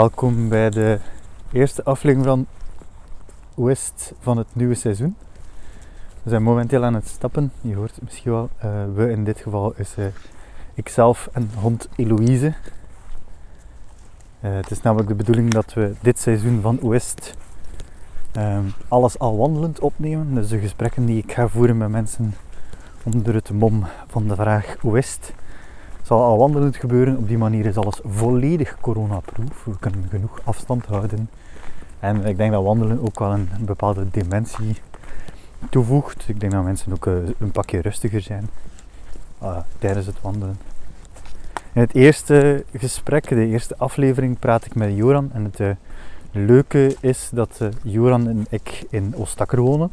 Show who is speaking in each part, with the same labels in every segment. Speaker 1: Welkom bij de eerste aflevering van West van het nieuwe seizoen. We zijn momenteel aan het stappen, je hoort het misschien wel. Eh, we in dit geval is eh, ikzelf en hond Eloïse. Eh, het is namelijk de bedoeling dat we dit seizoen van West ehm, alles al wandelend opnemen. Dus de gesprekken die ik ga voeren met mensen onder het mom van de vraag West zal al wandelend gebeuren. Op die manier is alles volledig coronaproof. We kunnen genoeg afstand houden. En ik denk dat wandelen ook wel een, een bepaalde dimensie toevoegt. Ik denk dat mensen ook eh, een pakje rustiger zijn eh, tijdens het wandelen. In het eerste gesprek, de eerste aflevering, praat ik met Joran. En het eh, leuke is dat eh, Joran en ik in Oostakker wonen.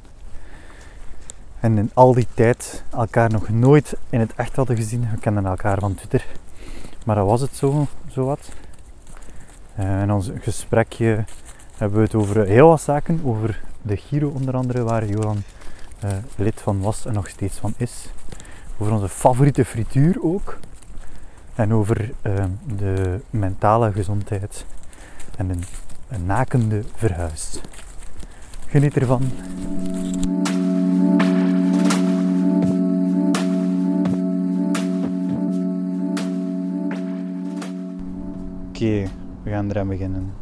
Speaker 1: En in al die tijd elkaar nog nooit in het echt hadden gezien. We kenden elkaar van Twitter. Maar dat was het zo, zo wat. Eh, in ons gesprekje hebben we het over heel wat zaken. Over de Giro onder andere, waar Johan eh, lid van was en nog steeds van is. Over onze favoriete frituur ook. En over eh, de mentale gezondheid. En een, een nakende verhuis. Geniet ervan. Oké, we gaan eraan beginnen.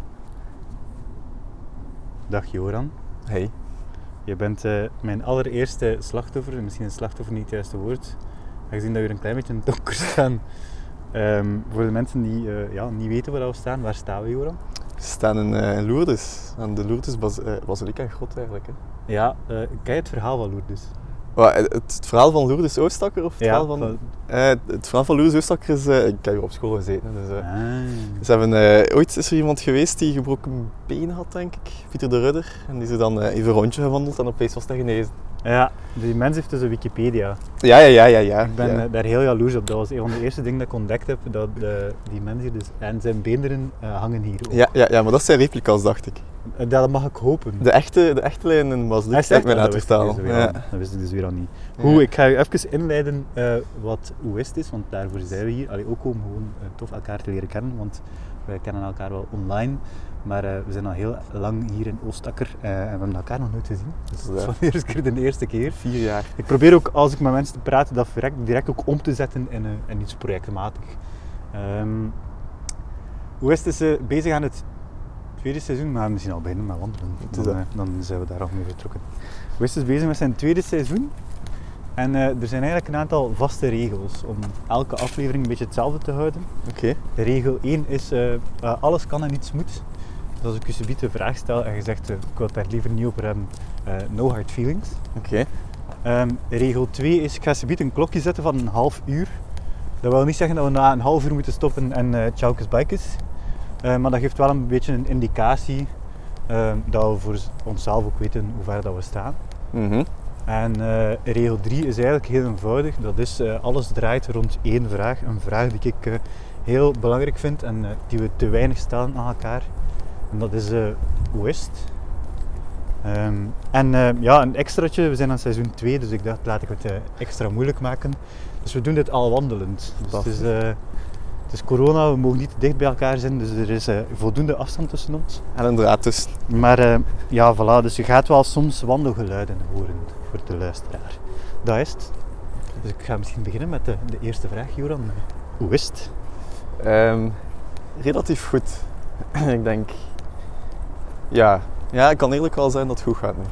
Speaker 1: Dag Joran.
Speaker 2: Hey.
Speaker 1: Je bent eh, mijn allereerste slachtoffer, misschien een slachtoffer niet het juiste woord, aangezien dat we er een klein beetje in het donker staan. Ehm, voor de mensen die eh, ja, niet weten waar we staan, waar staan we Joran?
Speaker 2: We staan in, eh, in Lourdes, aan de Lourdes Bas eh, Basilica Grot eigenlijk. Hè.
Speaker 1: Ja, eh ken je het verhaal van Lourdes?
Speaker 2: Wat, eh, het, het verhaal van Lourdes Oostakker of het
Speaker 1: ja,
Speaker 2: verhaal van... Eh, het verhaal van Lourdes Oostakker is... eh, ik heb hier op school gezeten, hè, dus... eh,
Speaker 1: Ah.
Speaker 2: ze hebben, eh, ooit is er iemand geweest die gebroken benen had, denk ik. Pieter de Rudder. En die is er dan eh, even een rondje gewandeld en opeens was hij genezen.
Speaker 1: Ja, die mens heeft dus een Wikipedia.
Speaker 2: Ja, ja, ja, ja. ja.
Speaker 1: Ik ben
Speaker 2: ja.
Speaker 1: eh, daar heel jaloers op. Dat was een van de eerste dingen dat ik ontdekt heb, dat eh, die mens hier dus, en zijn beenderen eh, hangen hier ook.
Speaker 2: ja, ja, ja, maar dat zijn replica's, dacht ik.
Speaker 1: Eh, dat mag ik hopen.
Speaker 2: De echte, de echte lijn in Basilica
Speaker 1: zegt
Speaker 2: heb ik mij
Speaker 1: dat,
Speaker 2: laten
Speaker 1: dat wist ik
Speaker 2: vertalen.
Speaker 1: dus weer al.
Speaker 2: Ja.
Speaker 1: Dat wist ik dus weer al niet.
Speaker 2: Ja.
Speaker 1: Hoe, ik ga u even inleiden eh, wat Oest is, want daarvoor zijn we hier. Allee, ook om gewoon eh, tof elkaar te leren kennen, want wij kennen elkaar wel online. Maar eh, we zijn al heel lang hier in Oostakker eh, en we hebben elkaar nog nooit gezien. Dus dat is
Speaker 2: Ja.
Speaker 1: van de eerste keer de eerste keer.
Speaker 2: eh, Vier jaar.
Speaker 1: Ik probeer ook, als ik met mensen praat, dat direct, direct ook om te zetten in, eh, in iets projectmatig. Ehm Oest is eh, bezig aan het tweede seizoen, maar misschien al bijna met wandelen.
Speaker 2: Het is
Speaker 1: Dan,
Speaker 2: dat.
Speaker 1: eh, dan zijn we daar al mee vertrokken. West is bezig met zijn tweede seizoen. En eh, er zijn eigenlijk een aantal vaste regels om elke aflevering een beetje hetzelfde te houden.
Speaker 2: Oké.
Speaker 1: Regel 1 is eh, eh, alles kan en niets moet. Dus als ik je subiet een vraag stel en je zegt eh, ik wil het daar liever niet over hebben, eh, no hard feelings.
Speaker 2: Oké.
Speaker 1: Ehm, regel 2 is, ik ga subiet een klokje zetten van een half uur. Dat wil niet zeggen dat we na een half uur moeten stoppen en eh tjaukes bijkes. Eh, maar dat geeft wel een beetje een indicatie ehm, dat we voor z- onszelf ook weten hoe ver dat we staan.
Speaker 2: Mhm.
Speaker 1: En eh, regel 3 is eigenlijk heel eenvoudig. Dat is, eh, alles draait rond één vraag. Een vraag die ik eh, heel belangrijk vind en eh, die we te weinig stellen aan elkaar. En dat is, eh, hoe is het? Ehm, en eh, ja, een extraatje. We zijn aan seizoen 2, dus ik dacht, laat ik het eh, extra moeilijk maken. Dus we doen dit al wandelend. Dus het, is, eh, het is corona, we mogen niet te dicht bij elkaar zijn, dus er is eh, voldoende afstand tussen ons.
Speaker 2: En dus een draad tussen.
Speaker 1: Maar eh, ja, voilà, dus je gaat wel soms wandelgeluiden horen voor de luisteraar. Dat is het. Dus ik ga misschien beginnen met de, de eerste vraag, Joran. Hoe is het?
Speaker 2: Ehm, relatief goed. ik denk. Ja. ja, ik kan eerlijk wel zijn dat het goed gaat nu.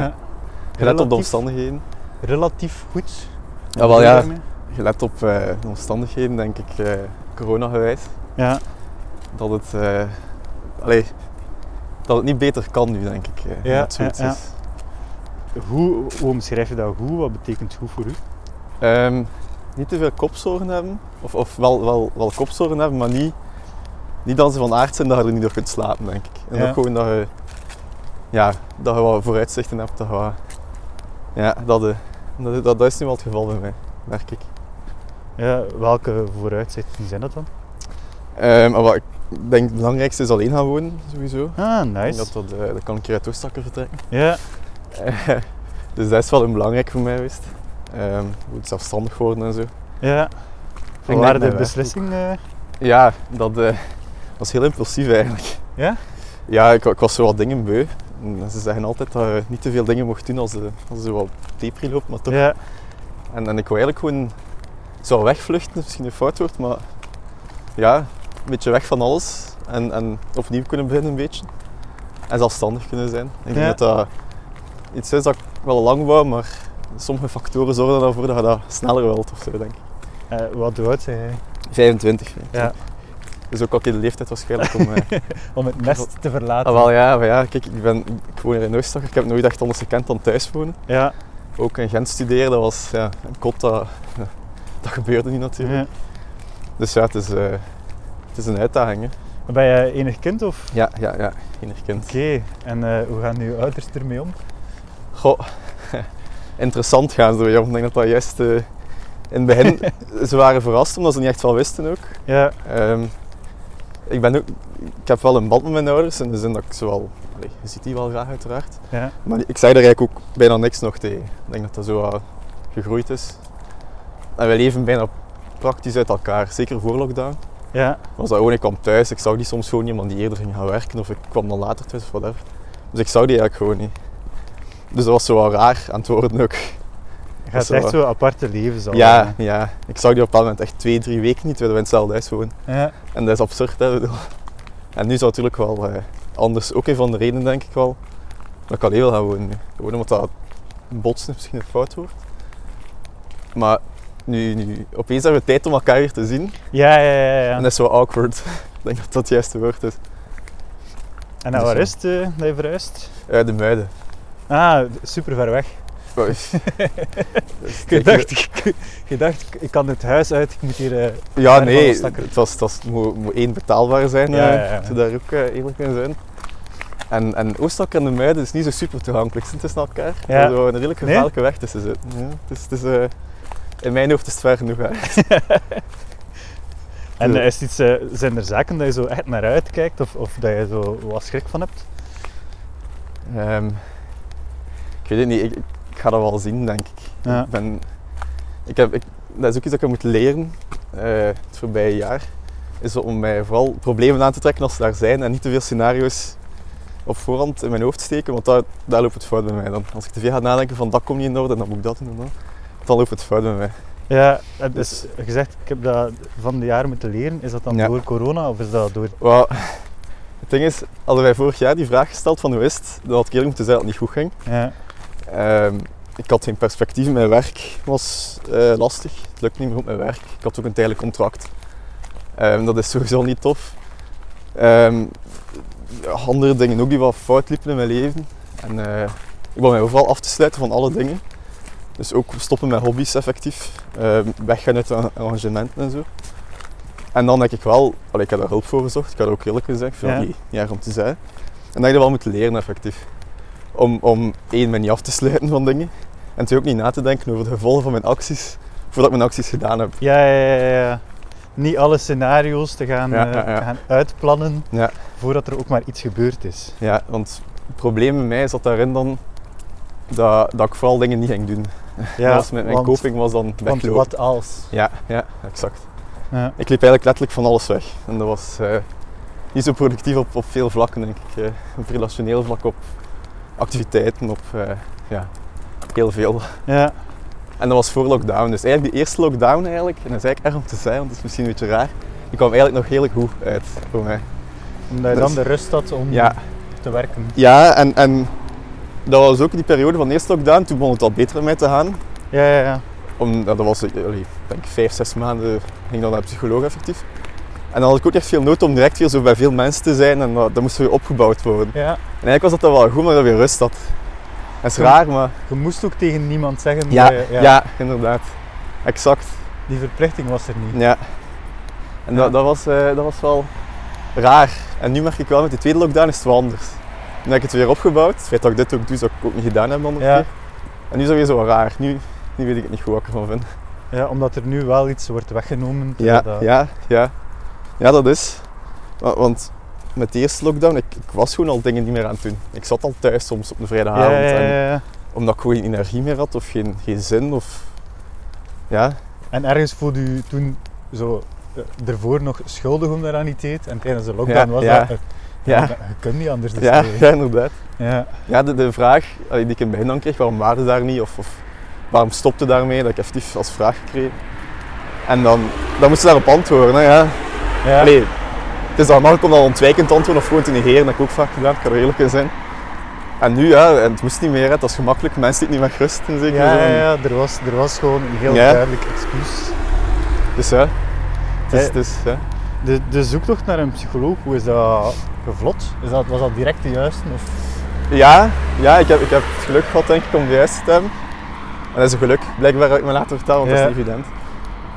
Speaker 1: Ja.
Speaker 2: Gelet op de
Speaker 1: relatief,
Speaker 2: omstandigheden.
Speaker 1: relatief goed.
Speaker 2: Ja, wel ja.
Speaker 1: Daarmee?
Speaker 2: Gelet op eh, de omstandigheden, denk ik, eh corona-gewijs,
Speaker 1: Ja,
Speaker 2: dat het. eh, allee, dat het niet beter kan nu, denk ik. eh,
Speaker 1: Ja,
Speaker 2: dat zoiets
Speaker 1: ja, ja.
Speaker 2: is.
Speaker 1: hoe, hoe omschrijf je dat goed? Wat betekent goed voor u?
Speaker 2: Ehm, niet te veel kopzorgen hebben. Of, of wel, wel, wel kopzorgen hebben, maar niet, niet dat ze van aard zijn dat je er niet door kunt slapen, denk ik. En
Speaker 1: Ja.
Speaker 2: ook gewoon dat je, ja, dat je wat vooruitzichten hebt. Dat je wat- ja, dat, eh, dat, dat, dat is nu wel het geval bij mij, merk ik.
Speaker 1: Ja, welke vooruitzichten zijn dat dan?
Speaker 2: Ehm, maar wat ik denk het belangrijkste is alleen gaan wonen, sowieso.
Speaker 1: Ah,
Speaker 2: Ik denk
Speaker 1: nice.
Speaker 2: dat, dat, eh, dat kan ik hier uit Oostakker vertrekken.
Speaker 1: Ja,
Speaker 2: dus dat is wel een belangrijk voor mij geweest. Ehm, ik moet zelfstandig worden en zo.
Speaker 1: ja.
Speaker 2: denk
Speaker 1: Waar de
Speaker 2: mijn werk
Speaker 1: beslissing? eh,
Speaker 2: Ja, dat, eh, Dat is heel impulsief eigenlijk.
Speaker 1: Ja?
Speaker 2: Ja, ik, ik was zo wat dingen beu. En ze zeggen altijd dat je niet te veel dingen mocht doen als ze, als ze wat depri loopt, maar toch.
Speaker 1: Ja.
Speaker 2: En, en ik wil eigenlijk gewoon... Ik zou wegvluchten, misschien een fout wordt, maar... Ja, een beetje weg van alles. En, en opnieuw kunnen beginnen een beetje. En zelfstandig kunnen zijn.
Speaker 1: Ja.
Speaker 2: Ik denk dat dat iets is dat ik wel lang wou, maar... Sommige factoren zorgen ervoor dat je dat sneller wilt of zo, denk ik.
Speaker 1: Eh, wat doet zij?
Speaker 2: 25. hè.
Speaker 1: Ja.
Speaker 2: Dus ook al keer de leeftijd waarschijnlijk om... eh,
Speaker 1: Om het nest te verlaten.
Speaker 2: Ah, wel ja, maar ja, kijk, ik, ben, ik woon hier in Oostdag. Ik heb nooit echt anders gekend dan thuis wonen.
Speaker 1: Ja.
Speaker 2: Ook in Gent studeren, dat was ja, een kot, dat, dat gebeurde niet natuurlijk.
Speaker 1: ja.
Speaker 2: Dus ja, het is, eh, het is een uitdaging. Hè.
Speaker 1: Ben jij enig kind of?
Speaker 2: Ja, ja, ja, enig kind.
Speaker 1: Oké, en eh, hoe gaan uw ouders ermee om?
Speaker 2: Goh, interessant gaan ze weer om. Ik denk dat dat juist eh, in het begin... ze waren verrast omdat ze niet echt wel wisten ook.
Speaker 1: Ja,
Speaker 2: Ehm, ik, ben ook ik heb wel een band met mijn ouders in de zin dat ik ze wel... Allee, je ziet die wel graag uiteraard.
Speaker 1: ja,
Speaker 2: Maar ik zei er eigenlijk ook bijna niks nog tegen. Ik denk dat dat zo wat gegroeid is. En wij leven bijna praktisch uit elkaar, zeker voor lockdown.
Speaker 1: ja,
Speaker 2: Was dat gewoon, ik kwam thuis, ik zag die soms gewoon iemand die eerder ging gaan werken of ik kwam dan later thuis of whatever. Dus ik zou die eigenlijk gewoon niet. Dus dat was zo wel raar aan het worden ook.
Speaker 1: je
Speaker 2: Dat
Speaker 1: gaat
Speaker 2: is
Speaker 1: echt
Speaker 2: wel-
Speaker 1: zo'n aparte leven zo.
Speaker 2: ja, ja, ik zag die op dat moment echt twee, drie weken niet, terwijl we in hetzelfde huis wonen.
Speaker 1: ja.
Speaker 2: En dat is absurd, hè. ik bedoel. En nu is dat natuurlijk wel eh, anders. Ook een van de redenen, denk ik wel, dat ik alleen wil gaan wonen. nu. Gewoon omdat dat botsen misschien een fout wordt. Maar nu, nu, opeens hebben we tijd om elkaar weer te zien.
Speaker 1: Ja, ja, ja. ja.
Speaker 2: En dat is zo awkward. ik denk dat dat het juiste woord is.
Speaker 1: En naar
Speaker 2: Dus,
Speaker 1: waar
Speaker 2: eh,
Speaker 1: is het eh, dat je verhuist?
Speaker 2: Eh, de muiden. Dus
Speaker 1: Ah, super ver weg.
Speaker 2: Wauw. Dat is
Speaker 1: Ik
Speaker 2: zeker-
Speaker 1: dacht, ik, ik dacht, ik kan het huis uit, ik moet hier... eh,
Speaker 2: Ja,
Speaker 1: Ervan
Speaker 2: nee,
Speaker 1: was dat ik er-
Speaker 2: het, was, het was, moet, moet één betaalbaar zijn,
Speaker 1: Ja,
Speaker 2: ja,
Speaker 1: ja, ja.
Speaker 2: daar ook eh, eerlijk in zijn. En, en Oostak en de Muiden is niet zo super toegankelijk, ze zijn tussen elkaar.
Speaker 1: Ja.
Speaker 2: Er is wel een redelijk
Speaker 1: Nee?
Speaker 2: gevaarlijke weg tussen zitten. Ja, het is, het is, eh, in mijn hoofd is het ver genoeg. Hè.
Speaker 1: en
Speaker 2: Ja.
Speaker 1: eh, is het iets, eh, zijn er zaken dat je zo echt naar uitkijkt of, of dat je zo wat schrik van hebt?
Speaker 2: Ehm, ik weet het niet, ik, ik ga dat wel zien, denk ik.
Speaker 1: Ja.
Speaker 2: Ik ben, ik heb, ik, dat is ook iets dat ik heb moeten leren eh, het voorbije jaar. Is om mij vooral problemen aan te trekken als ze daar zijn en niet te veel scenario's op voorhand in mijn hoofd steken, want daar, daar loopt het fout bij mij dan. Als ik te veel ga nadenken van dat komt niet in orde, dan moet ik dat doen, en dat, dan loopt het fout bij mij.
Speaker 1: Ja, het is
Speaker 2: Dus-
Speaker 1: Eh, gezegd, ik heb dat van de jaren moeten leren. Is dat dan
Speaker 2: Ja.
Speaker 1: door corona of is dat door...
Speaker 2: Wel, het ding is, hadden wij vorig jaar die vraag gesteld van hoe is het, dan had ik eerlijk moeten zijn dat het niet goed ging.
Speaker 1: Ja,
Speaker 2: Ehm, ik had geen perspectief. Mijn werk was eh, lastig. Het lukt niet meer op mijn werk. Ik had ook een tijdelijk contract. Ehm, dat is sowieso niet tof. Ehm, ja, andere dingen ook die wat fout liepen in mijn leven. En, eh, ik wou mij overal af te sluiten van alle dingen. Dus ook stoppen met hobby's effectief. Ehm, weggaan uit arra- arrangementen en zo. En dan denk ik wel, allee, ik heb daar hulp voor gezocht. Ik had ook eerlijk gezegd, ik vind
Speaker 1: Ja.
Speaker 2: dat niet, niet erg om te zijn. En dat je dat wel moet leren effectief om, om één, me niet af te sluiten van dingen. En twee, ook niet na te denken over de gevolgen van mijn acties voordat ik mijn acties gedaan heb.
Speaker 1: ja, ja, ja. ja. Niet alle scenario's te gaan,
Speaker 2: Ja,
Speaker 1: eh,
Speaker 2: ja, ja.
Speaker 1: te gaan uitplannen
Speaker 2: Ja.
Speaker 1: voordat er ook maar iets gebeurd is.
Speaker 2: Ja, want het probleem bij mij zat daarin dan dat, dat ik vooral dingen niet ging doen. dat was met mijn
Speaker 1: want-
Speaker 2: coping was dan
Speaker 1: Want
Speaker 2: weglopen.
Speaker 1: wat als?
Speaker 2: Ja, ja, exact.
Speaker 1: Ja.
Speaker 2: Ik liep eigenlijk letterlijk van alles weg. En dat was eh, niet zo productief op, op veel vlakken, denk ik. eh, op relationeel vlak, op activiteiten, op eh, ja, heel veel.
Speaker 1: Ja.
Speaker 2: En dat was voor lockdown. Dus eigenlijk die eerste lockdown eigenlijk, en dat is eigenlijk erg om te zijn, want het is misschien een beetje raar, die kwam eigenlijk nog heel goed uit voor mij.
Speaker 1: Omdat je
Speaker 2: Dus-
Speaker 1: dan de rust had om
Speaker 2: Ja.
Speaker 1: te werken.
Speaker 2: Ja, en, en dat was ook die periode van de eerste lockdown, toen begon het al beter met te gaan.
Speaker 1: Ja, ja, ja.
Speaker 2: Om, dat was, eh, allee, denk ik, vijf, zes maanden ging dan naar de psycholoog effectief. En dan had ik ook echt veel nood om direct weer zo bij veel mensen te zijn en dat, dat moest weer opgebouwd worden.
Speaker 1: ja.
Speaker 2: En eigenlijk was dat dan wel goed, maar dat weer rust had. Dat is raar, maar
Speaker 1: Je moest ook tegen niemand zeggen,
Speaker 2: ja,
Speaker 1: eh,
Speaker 2: ja. inderdaad. Exact.
Speaker 1: die verplichting was er niet.
Speaker 2: Ja. En
Speaker 1: Ja.
Speaker 2: Dat, dat, was, eh, dat was wel raar. En nu merk ik wel, met die tweede lockdown is het wel anders. Nu heb ik het weer opgebouwd. Het feit dat ik dit ook doe, zou ik ook niet gedaan hebben andere
Speaker 1: Ja.
Speaker 2: keer. En nu is dat weer zo wat raar. Nu, nu weet ik het niet goed wat ik ervan vind.
Speaker 1: Ja, omdat er nu wel iets wordt weggenomen.
Speaker 2: Ja,
Speaker 1: terwijl dat-
Speaker 2: ja, ja. Ja, dat is. Wa- Want met de eerste lockdown, ik, ik was gewoon al dingen niet meer aan het doen. Ik zat al thuis soms op een vrijdagavond.
Speaker 1: ja, ja,
Speaker 2: En
Speaker 1: ja, ja.
Speaker 2: omdat ik gewoon geen energie meer had of geen, geen zin of... Ja,
Speaker 1: En ergens voelde u toen zo eh, ervoor nog schuldig om dat aan niet deed. En tijdens de lockdown
Speaker 2: Ja,
Speaker 1: was
Speaker 2: ja.
Speaker 1: dat... eh,
Speaker 2: Ja.
Speaker 1: Je kunt niet anders. Dus
Speaker 2: Ja,
Speaker 1: nee.
Speaker 2: ja, inderdaad.
Speaker 1: ja.
Speaker 2: Ja, de, de vraag allee, die ik in het begin dan kreeg, waarom waren ze daar niet? Of, of waarom stopte daarmee? Dat ik effectief als vraag kreeg. En dan, dan moest ze daarop antwoorden. Hè, ja.
Speaker 1: Ja.
Speaker 2: Allee, het is dan makkelijk om dat ontwijkend te antwoorden of gewoon te negeren. Dat heb ik ook vaak gedaan, ik kan er eerlijk in zijn. En nu, ja, en het moest niet meer. Hè. Dat is gemakkelijk. Mensen zitten niet meer rust in zekere
Speaker 1: Ja, ja,
Speaker 2: zin.
Speaker 1: ja, er was, er was gewoon een heel
Speaker 2: Ja.
Speaker 1: duidelijk excuus.
Speaker 2: Dus ja, het is,
Speaker 1: Hey.
Speaker 2: het is, ja.
Speaker 1: De, de zoektocht naar een psycholoog, hoe is dat gevlot? Is dat, was dat direct de juiste? Of?
Speaker 2: Ja, ja ik, heb, ik heb het geluk gehad denk ik om de juiste te hebben. En dat is een geluk, blijkbaar heb ik me laten vertellen, want dat
Speaker 1: Ja.
Speaker 2: is niet evident.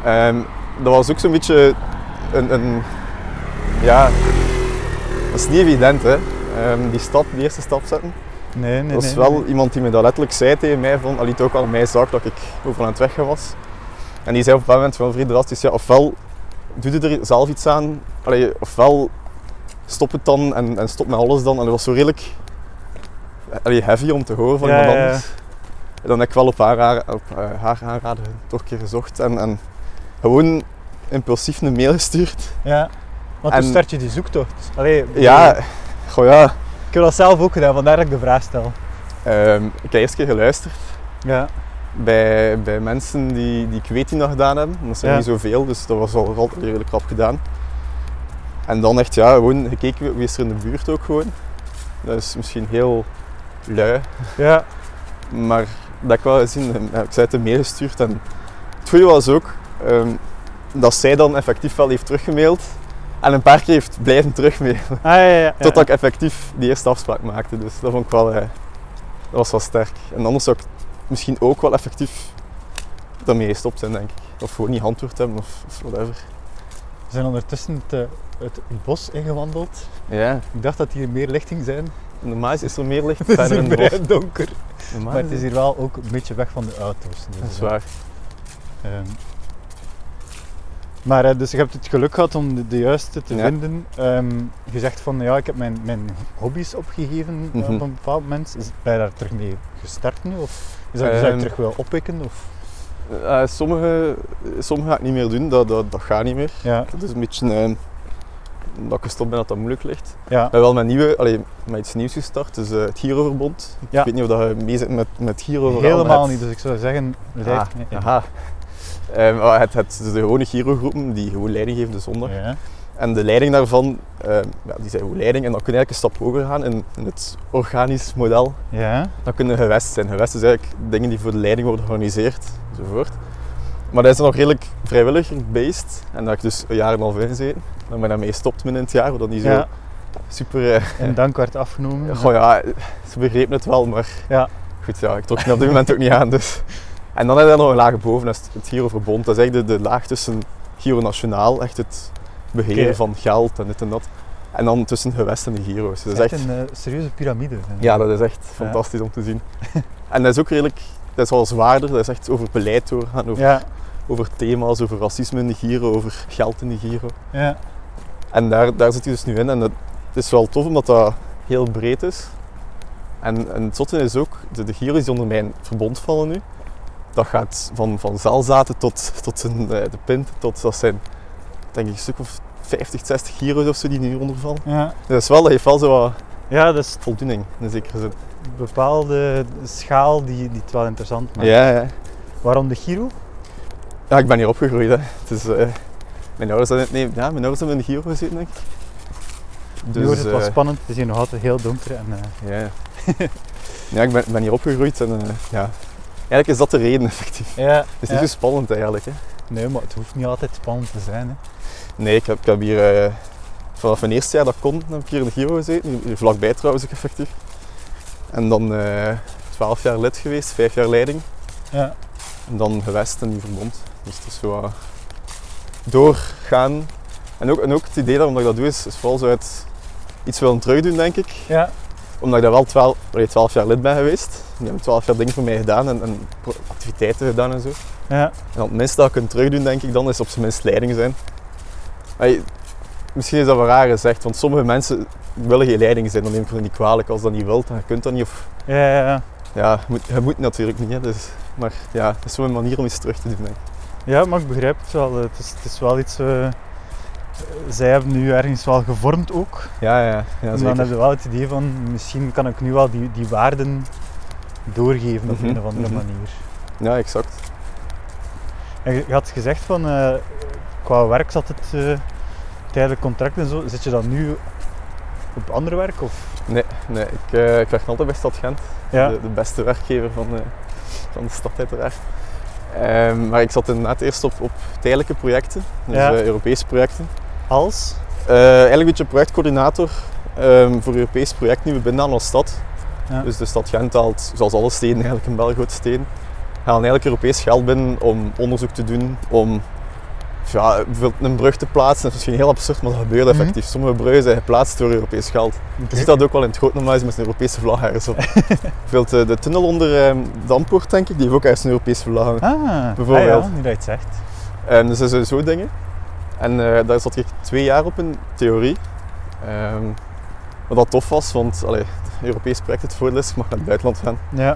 Speaker 2: Ehm, dat was ook zo'n beetje een, een... Ja, dat is niet evident hè. Ehm, die stap, die eerste stap zetten.
Speaker 1: Nee, nee,
Speaker 2: dat was
Speaker 1: nee,
Speaker 2: wel
Speaker 1: nee.
Speaker 2: iemand die me dat letterlijk zei tegen mij, van, liet ook al mij zag dat ik over aan het weggaan was. En die zei op een moment van vrij drastisch, ja, ofwel doe je er zelf iets aan, allee, ofwel stop het dan en, en stop met alles dan. En dat was zo redelijk allee, heavy om te horen van
Speaker 1: Ja,
Speaker 2: iemand
Speaker 1: ja, ja.
Speaker 2: anders. En dan heb ik wel op haar, haar- op, eh, haar aanraden toch een keer gezocht en, en gewoon impulsief een mail gestuurd.
Speaker 1: Ja. Want
Speaker 2: En-
Speaker 1: toen start je die zoektocht. Allee,
Speaker 2: Ja, goh ja,
Speaker 1: Ik heb dat zelf ook gedaan, vandaar dat ik de vraag stel.
Speaker 2: ehm, ik heb eerst een keer geluisterd.
Speaker 1: Ja.
Speaker 2: bij, bij mensen die, die ik weet die dat gedaan hebben. Dat zijn
Speaker 1: Ja.
Speaker 2: niet zoveel, dus dat was al altijd redelijk rap gedaan. En dan echt, ja, gewoon gekeken wie is er in de buurt ook gewoon. Dat is misschien heel lui,
Speaker 1: Ja.
Speaker 2: maar dat ik wel gezien, eh, ik zei het hem meegestuurd. En het goede was ook ehm, dat zij dan effectief wel heeft teruggemaild en een paar keer heeft blijven terugmailen.
Speaker 1: Ah, ja, ja, ja.
Speaker 2: Totdat ik effectief die eerste afspraak maakte. Dus dat vond ik wel, eh, dat was wel sterk. En anders zou ik misschien ook wel effectief daarmee gestopt zijn, denk ik. Of gewoon niet antwoord hebben of, of whatever.
Speaker 1: We zijn ondertussen het, eh, het bos ingewandeld.
Speaker 2: Ja.
Speaker 1: Ik dacht dat hier meer lichting zijn.
Speaker 2: Normaal is er meer licht
Speaker 1: Het is
Speaker 2: verder in
Speaker 1: hier
Speaker 2: de bos.
Speaker 1: vrij donker.
Speaker 2: Normaal
Speaker 1: Maar het is hier wel ook een beetje weg van de auto's. Dus,
Speaker 2: Dat is
Speaker 1: eh,
Speaker 2: waar.
Speaker 1: Ehm, maar eh, dus je hebt het geluk gehad om de, de juiste te
Speaker 2: Ja.
Speaker 1: vinden. Ehm, je zegt van ja, ik heb mijn, mijn hobby's opgegeven eh,
Speaker 2: Mhm.
Speaker 1: op een bepaald moment. Is, ben je daar terug mee gestart nu? Of is dat iets dat je
Speaker 2: Ehm.
Speaker 1: terug wil oppikken? Of?
Speaker 2: Eh, sommige, sommige ga ik niet meer doen, dat, dat, dat gaat niet meer.
Speaker 1: Ja,
Speaker 2: Dat is een beetje eh, dat ik gestopt ben dat dat moeilijk ligt.
Speaker 1: ja,
Speaker 2: Ik ben wel met, nieuwe, allee, met iets nieuws gestart, dus eh, het Giroverbond.
Speaker 1: Ja.
Speaker 2: Ik weet niet of dat je mee zit met, met Giro. vooral, maar
Speaker 1: helemaal
Speaker 2: het-
Speaker 1: niet. Dus ik zou zeggen,
Speaker 2: Ah,
Speaker 1: leid me in.
Speaker 2: aha. Ehm, maar het, het, de gewone Giro-groepen die gewoon leiding geven de zondag.
Speaker 1: Ja.
Speaker 2: En de leiding daarvan, ehm, ja, die zijn gewoon leiding. En dan kun je eigenlijk een stap hoger gaan in, in het organisch model.
Speaker 1: ja,
Speaker 2: Dan kunnen gewest zijn. Gewest is eigenlijk dingen die voor de leiding worden georganiseerd, enzovoort. Maar dat is nog redelijk vrijwilliger-based. En daar heb ik dus een jaar en een half in gezeten. Dan ben ik daarmee gestopt midden in het jaar, omdat niet zo
Speaker 1: Ja.
Speaker 2: super... eh,
Speaker 1: en dank werd afgenomen.
Speaker 2: Goh ja, ze begrepen het wel, maar
Speaker 1: Ja.
Speaker 2: goed, ja, ik trok me op dit moment ook niet aan. Dus. En dan heb je daar nog een laag boven, dat is het Giro Verbond. Dat is eigenlijk de, de laag tussen Giro Nationaal, echt het beheren
Speaker 1: Oké.
Speaker 2: van geld en dit en dat. En dan tussen gewest en de Giro's. Dus
Speaker 1: Het is
Speaker 2: dat
Speaker 1: echt een eh, serieuze piramide. eh.
Speaker 2: ja, dat is echt fantastisch om te zien. En dat is ook redelijk, dat is wel zwaarder, dat is echt over beleid doorgaan, over,
Speaker 1: Ja,
Speaker 2: over thema's, over racisme in de Giro, over geld in de Giro.
Speaker 1: ja,
Speaker 2: En daar, daar zit je dus nu in. En dat het is wel tof omdat dat heel breed is. En, en het zotte is ook, de, de gyro's die onder mijn verbond vallen nu, dat gaat van, van zaalzaten tot, tot een, eh, de pint, tot dat zijn denk ik een stuk of 50, 60 gyro's of zo die nu ondervallen.
Speaker 1: ja.
Speaker 2: Dus dat, is wel, dat geeft wel zo wat
Speaker 1: ja, dat is
Speaker 2: voldoening in zekere zin.
Speaker 1: een bepaalde schaal die, die het wel interessant maakt.
Speaker 2: Ja, ja.
Speaker 1: Waarom de Giro?
Speaker 2: ja, ik ben hier opgegroeid. Hè. Het is, eh, mijn ouders hebben, nee, ja, mijn ouders hebben in de gyro gezeten, denk ik.
Speaker 1: nu wordt het wel
Speaker 2: eh,
Speaker 1: spannend, het is hier nog altijd heel donker. En, eh,
Speaker 2: Ja. ja, ik ben, ben hier opgegroeid en eh, ja. Eigenlijk is dat de reden effectief.
Speaker 1: ja,
Speaker 2: Het is niet zo spannend eigenlijk. Hè.
Speaker 1: Nee, maar het hoeft niet altijd spannend te zijn. Hè.
Speaker 2: Nee, ik heb, ik heb hier eh, vanaf mijn eerste jaar dat ik kon, heb ik hier in de Giro gezeten. Hier, hier vlakbij trouwens ook effectief. En dan eh, twaalf jaar lid geweest, vijf jaar leiding.
Speaker 1: Ja.
Speaker 2: En dan gewest en nu verbond. Dus het is zo eh, doorgaan. En ook, en ook het idee waarom ik dat doe is, is vooral zo uit iets willen terugdoen denk ik.
Speaker 1: Ja.
Speaker 2: omdat ik daar wel 12, allee, 12 jaar lid ben geweest. Die hebben 12 jaar dingen voor mij gedaan en, en pro- activiteiten gedaan en zo.
Speaker 1: Ja.
Speaker 2: En het minste dat ik kan terugdoen, denk ik dan, is op zijn minst leiding zijn. Allee, misschien is dat wel raar gezegd, want sommige mensen willen geen leiding zijn. Dan neem ik het niet kwalijk. Als dat niet wilt, dan kunt dat niet. Of,
Speaker 1: Ja, ja, ja.
Speaker 2: ja, je moet, je moet natuurlijk niet. Hè, dus, maar ja, dat is wel een manier om iets terug te doen. Denk ik.
Speaker 1: ja, maar ik begrijp het wel. Het is, het is wel iets eh, zij hebben nu ergens wel gevormd ook.
Speaker 2: Ja, ja, ja
Speaker 1: En
Speaker 2: zeker.
Speaker 1: dan heb je wel het idee van, misschien kan ik nu wel die, die waarden doorgeven op
Speaker 2: Mhm,
Speaker 1: een of andere
Speaker 2: mhm.
Speaker 1: manier.
Speaker 2: Ja, exact.
Speaker 1: En je, je had gezegd van, eh, qua werk zat het eh, tijdelijk contract en zo. Zit je dan nu op ander werk? Of?
Speaker 2: Nee, nee ik, eh ik werk nog altijd bij Stad Gent.
Speaker 1: Ja.
Speaker 2: De, de beste werkgever van de, van de stad uiteraard. Ehm, maar ik zat inderdaad eerst op, op tijdelijke projecten, dus
Speaker 1: Ja.
Speaker 2: eh, Europese projecten.
Speaker 1: Als?
Speaker 2: Eh, eigenlijk een beetje projectcoördinator ehm, voor Europees project nu binnen aan onze stad.
Speaker 1: Ja.
Speaker 2: Dus de stad Gent haalt, zoals alle steden eigenlijk in België, grote steden, halen eigenlijk Europees geld binnen om onderzoek te doen, om ja, bijvoorbeeld een brug te plaatsen. Dat is misschien heel absurd, maar dat gebeurt
Speaker 1: Mhm.
Speaker 2: effectief. Sommige bruggen zijn geplaatst door Europees geld. Je ziet dat ook wel in het Grootnemhuis met een Europese vlag ergens op. Bijvoorbeeld eh, de tunnel onder ehm Dampoort, denk ik, die heeft ook ergens een Europese vlag hangen.
Speaker 1: Ah,
Speaker 2: Bijvoorbeeld.
Speaker 1: Ah ja, nu dat je het zegt.
Speaker 2: Ehm, dus dat zijn zo dingen. En eh, daar zat ik twee jaar op in theorie. Ehm, wat dat tof was, want allee, het Europees project het voordeel is, ik mag naar het buitenland gaan.
Speaker 1: Ja.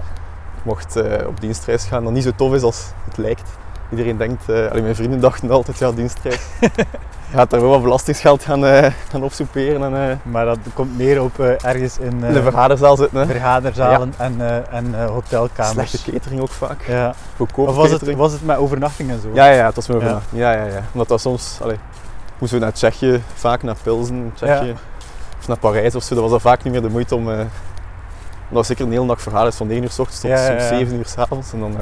Speaker 2: Ik mocht eh, op dienstreis gaan, dat niet zo tof is als het lijkt. Iedereen denkt, eh, allee, mijn vrienden dachten altijd, ja, dienstreis. Je gaat daar wel wat belastingsgeld gaan, eh gaan opsoeperen en eh,
Speaker 1: Maar dat komt neer op eh, ergens in eh,
Speaker 2: in de vergaderzaal zitten. Hè.
Speaker 1: vergaderzalen en, eh, en eh, hotelkamers.
Speaker 2: Slechte catering ook vaak.
Speaker 1: Ja.
Speaker 2: Goedkope
Speaker 1: Of was het,
Speaker 2: catering.
Speaker 1: was het met overnachting en zo?
Speaker 2: Ja, ja, ja, het was me
Speaker 1: Ja.
Speaker 2: ja. ja, ja, ja. Omdat dat soms... Allee, moesten we naar Tsjechië, vaak naar Pilsen, Tsjechië.
Speaker 1: Ja.
Speaker 2: Of naar Parijs of zo. Dat was dan vaak niet meer de moeite om... eh omdat het zeker een hele dag verhaal is van 9 uur s ochtends tot
Speaker 1: Ja, ja,
Speaker 2: soms
Speaker 1: ja.
Speaker 2: 7 uur s avonds. En dan... Ja,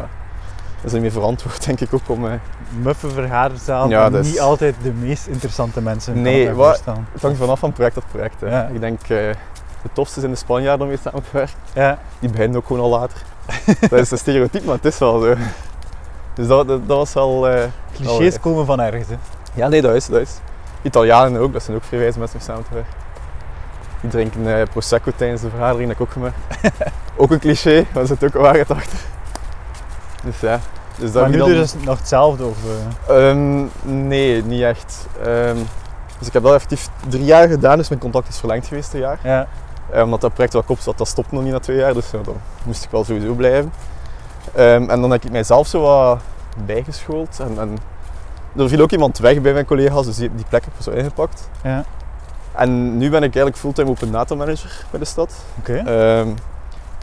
Speaker 2: dat is niet meer verantwoord, denk ik ook, om... eh,
Speaker 1: Muffe vergaderzaal,
Speaker 2: Ja,
Speaker 1: maar
Speaker 2: dat is-
Speaker 1: niet altijd de meest interessante mensen. kan
Speaker 2: Nee,
Speaker 1: ik me
Speaker 2: wat-
Speaker 1: voorstellen.
Speaker 2: het hangt vanaf van project tot project. Hè.
Speaker 1: Ja.
Speaker 2: Ik denk... eh de tofste zijn de Spanjaarden om mee samen te werken.
Speaker 1: Ja,
Speaker 2: Die beginnen ook gewoon al later. dat is een stereotype, maar het is wel zo. Dus dat, dat, dat was wel... eh, Oh,
Speaker 1: clichés
Speaker 2: ja.
Speaker 1: komen van ergens. Hè.
Speaker 2: Ja, nee, dat is, dat is. Italianen ook, dat zijn ook vrij wijze mensen om samen te werken. Die drinken eh, prosecco tijdens de vergadering, dat heb ik ook gemerkt. ook een cliché, maar er zit ook een waarheid achter. Dus ja. Dus dat
Speaker 1: Maar
Speaker 2: heb
Speaker 1: nu dus
Speaker 2: ik dan-
Speaker 1: is het nog hetzelfde. Of, eh,
Speaker 2: Ehm, nee, niet echt. Ehm, dus ik heb dat effectief drie jaar gedaan, dus mijn contract is verlengd geweest een jaar.
Speaker 1: ja.
Speaker 2: Eh, omdat dat project wel kop zat, dat stopt nog niet na twee jaar, dus ja, dan moest ik wel sowieso blijven. Ehm, en dan heb ik mijzelf zo wat bijgeschoold. En, en er viel ook iemand weg bij mijn collega's, dus die, die plek heb ik zo ingepakt.
Speaker 1: Ja.
Speaker 2: En nu ben ik eigenlijk fulltime open data manager bij de stad.
Speaker 1: Oké.
Speaker 2: Ehm,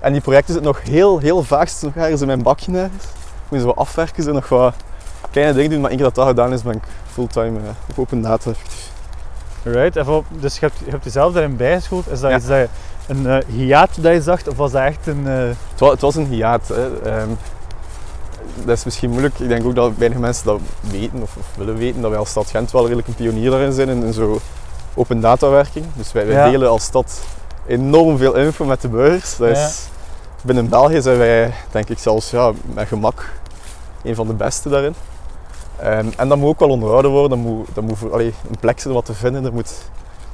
Speaker 2: en die projecten zitten nog heel, heel vaak zitten nog ergens in mijn bakje ergens. Ik moet ze wat afwerken, ze nog wat kleine dingen doen, maar één keer dat dat gedaan is, ben ik fulltime eh, op open data effectief.
Speaker 1: Right. Even op, dus je hebt, je hebt jezelf daarin bijgeschoold. Is dat
Speaker 2: Ja.
Speaker 1: iets dat je, een eh, hiaat dat je zag? Of was dat echt een... eh,
Speaker 2: Het wa- het was, een hiaat. Hè. Ehm, dat is misschien moeilijk. Ik denk ook dat weinig mensen dat weten of, of willen weten. Dat wij als stad Gent wel redelijk een pionier daarin zijn in, in zo open datawerking. Dus wij, wij
Speaker 1: Ja.
Speaker 2: delen als stad enorm veel info met de burgers. Dat
Speaker 1: Ja.
Speaker 2: is, binnen België zijn wij, denk ik zelfs ja, met gemak, een van de beste daarin. Ehm, en dat moet ook wel onderhouden worden. Dat moet, dat moet voor, allee, een plek zijn om wat te vinden. Er moet,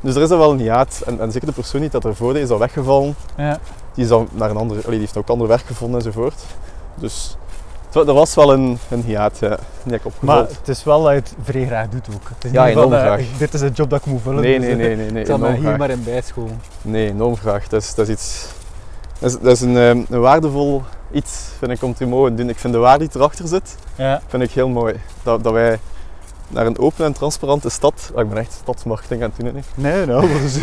Speaker 2: dus er is er wel een hiaat. En, en zeker de persoon die dat ervoor deed, is al weggevallen.
Speaker 1: ja.
Speaker 2: Die, is dan naar een andere, allee, die heeft ook ander werk gevonden enzovoort. Dus het wa- er was wel een, een hiaat ja, die ik
Speaker 1: Maar
Speaker 2: opgevuld.
Speaker 1: het is wel dat je het vrij graag doet ook. Het is
Speaker 2: Ja,
Speaker 1: niet van,
Speaker 2: enorm
Speaker 1: eh,
Speaker 2: graag.
Speaker 1: Dit is een job dat ik moet vullen.
Speaker 2: nee,
Speaker 1: dus,
Speaker 2: nee,
Speaker 1: eh,
Speaker 2: nee, nee, nee,
Speaker 1: Ik zal mij
Speaker 2: enorm
Speaker 1: hier
Speaker 2: graag.
Speaker 1: maar in bijscholen.
Speaker 2: Nee, enorm graag. Dat is, dat is iets... Dat is, dat is een, ehm, een waardevol iets, vind ik, om te mogen doen. Ik vind de waarde die erachter zit,
Speaker 1: Ja.
Speaker 2: vind ik heel mooi. Dat, dat wij naar een open en transparante stad... ah, ik ben echt stadsmarketing aan het doen, hè, nu.
Speaker 1: Nee, nou. dus-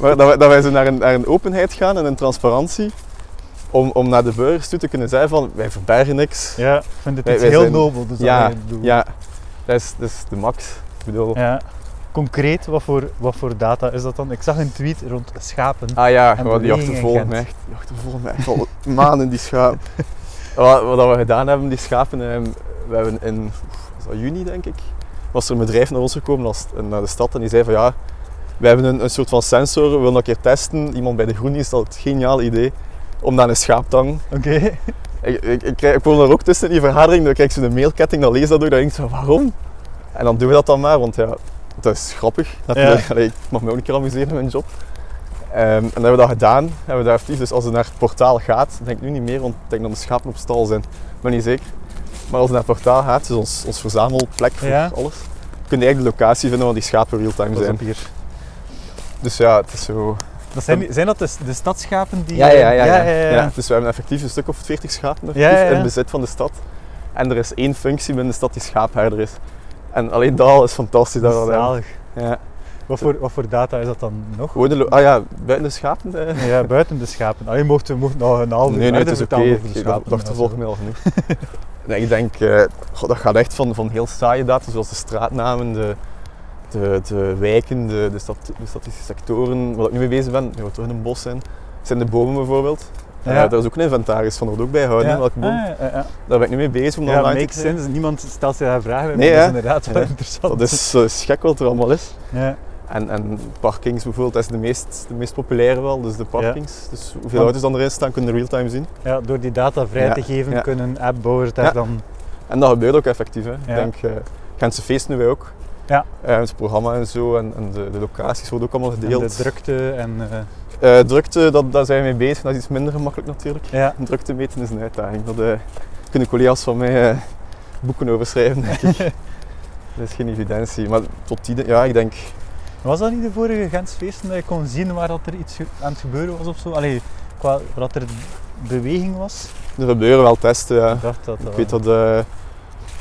Speaker 2: Maar dat wij, dat wij zo naar een, naar een openheid gaan en een transparantie. Om, om naar de burgers toe te kunnen zeggen van, wij verbergen niks.
Speaker 1: ja, ik vind het
Speaker 2: Wij-
Speaker 1: iets
Speaker 2: wij
Speaker 1: heel
Speaker 2: zijn-
Speaker 1: nobel. Dus
Speaker 2: Ja,
Speaker 1: dat je het doet.
Speaker 2: Ja, dat is, dat is de max. Ik bedoel...
Speaker 1: Ja. Concreet, wat voor, wat voor data is dat dan? Ik zag een tweet rond schapen.
Speaker 2: Ah ja,
Speaker 1: En
Speaker 2: wat die
Speaker 1: beweging in
Speaker 2: achtervolgen
Speaker 1: Gent.
Speaker 2: mij echt. Die achtervolgen mij echt al maanden, die schapen. Wat, wat we gedaan hebben, die schapen, ehm, we hebben in oef, was dat juni denk ik, was er een bedrijf naar ons gekomen, als- en naar de stad, en die zei van ja, we hebben een, een soort van sensor, we willen dat een keer testen. Iemand bij de Groendienst had het geniaal idee om naar een schaap te hangen.
Speaker 1: Oké.
Speaker 2: Ik, ik, ik, krijg- ik woon er ook tussen in die vergadering, dan krijg ik zo'n mailketting, dan lees dat ook, dan denk ik zo, waarom? En dan doen we dat dan maar, want ja, dat is grappig. natuurlijk. Allee, ik mag me ook een keer amuseren in mijn job. Ehm, en dan hebben we dat gedaan, hebben we dat effectief. Dus als je naar het portaal gaat, denk ik nu niet meer, want ik denk dat de schapen op stal zijn, ik ben niet zeker. Maar als je naar het portaal gaat, dus ons, ons verzamelplek voor
Speaker 1: Ja.
Speaker 2: alles, kun je eigenlijk de locatie vinden waar die schapen real-time
Speaker 1: Pas
Speaker 2: zijn.
Speaker 1: op hier.
Speaker 2: Dus ja, het is zo...
Speaker 1: Dat zijn, die- zijn dat de, de stadschapen die...
Speaker 2: Ja, Dus we hebben effectief een stuk of 40 schapen
Speaker 1: Ja,
Speaker 2: effectief
Speaker 1: ja, ja.
Speaker 2: in bezit van de stad. En er is één functie binnen de stad die schaapherder is. En alleen dat al is fantastisch. Daar,
Speaker 1: Zalig.
Speaker 2: Ja.
Speaker 1: Wat voor, wat voor data is dat dan nog?
Speaker 2: Gewoon de lo- ah ja, buiten de schapen. eh.
Speaker 1: Ja, buiten de schapen. Alleen mocht we mochten nog een halve
Speaker 2: nee, nee, het
Speaker 1: verder
Speaker 2: is oké.
Speaker 1: vertellen over de
Speaker 2: Ik
Speaker 1: schapen.
Speaker 2: dacht, dacht de
Speaker 1: Ja,
Speaker 2: volgende
Speaker 1: zo.
Speaker 2: middag genoeg. nee, ik denk, eh, goh, dat gaat echt van, van heel saaie data, zoals de straatnamen, de, de, de wijken, de, de, stat- de statistische sectoren, waar ik nu mee bezig ben. Ja, we toch in een bos zijn. Zijn de bomen bijvoorbeeld? Eh,
Speaker 1: Ja.
Speaker 2: daar is ook een inventaris van, dat wordt ook bijhouden.
Speaker 1: Ja.
Speaker 2: hè, Welke boom.
Speaker 1: Ah, ja, ja, ja.
Speaker 2: Daar ben ik nu mee bezig om
Speaker 1: Ja,
Speaker 2: online te
Speaker 1: makes
Speaker 2: krijgen.
Speaker 1: sense. Niemand stelt zich daar vragen bij,
Speaker 2: Nee,
Speaker 1: maar dat is
Speaker 2: hè?
Speaker 1: inderdaad wel
Speaker 2: Ja.
Speaker 1: interessant.
Speaker 2: Dat is, eh, is gek wat er allemaal is.
Speaker 1: Ja.
Speaker 2: En, en parkings bijvoorbeeld, dat is de meest, de meest populaire wel, dus de parkings. Dus hoeveel
Speaker 1: Want-
Speaker 2: auto's dan erin staan, kunnen real-time zien.
Speaker 1: Ja, door die data vrij
Speaker 2: Ja,
Speaker 1: te geven,
Speaker 2: ja.
Speaker 1: kunnen appbouwers daar
Speaker 2: Ja.
Speaker 1: dan...
Speaker 2: En dat gebeurt ook effectief. Hè. Ik
Speaker 1: Ja.
Speaker 2: denk, eh Gentse feest nu wij ook.
Speaker 1: Ja.
Speaker 2: Eh, het programma en zo en, en de, de locaties worden ook allemaal
Speaker 1: en
Speaker 2: gedeeld.
Speaker 1: de drukte en... eh,
Speaker 2: Eh, drukte, dat, daar zijn we mee bezig. Dat is iets minder gemakkelijk natuurlijk.
Speaker 1: ja.
Speaker 2: Drukte meten is een uitdaging. Dat eh, kunnen collega's van mij eh, boeken over schrijven, denk ik. dat is geen evidentie. Maar tot die, ja, ik denk
Speaker 1: Was dat niet de vorige Gentse feesten dat je kon zien waar dat er iets ge- aan het gebeuren was of zo? Allee, qua dat er beweging was?
Speaker 2: er gebeuren wel testen. ja.
Speaker 1: Ik dacht dat dat
Speaker 2: Ik weet
Speaker 1: wel-
Speaker 2: dat, eh dat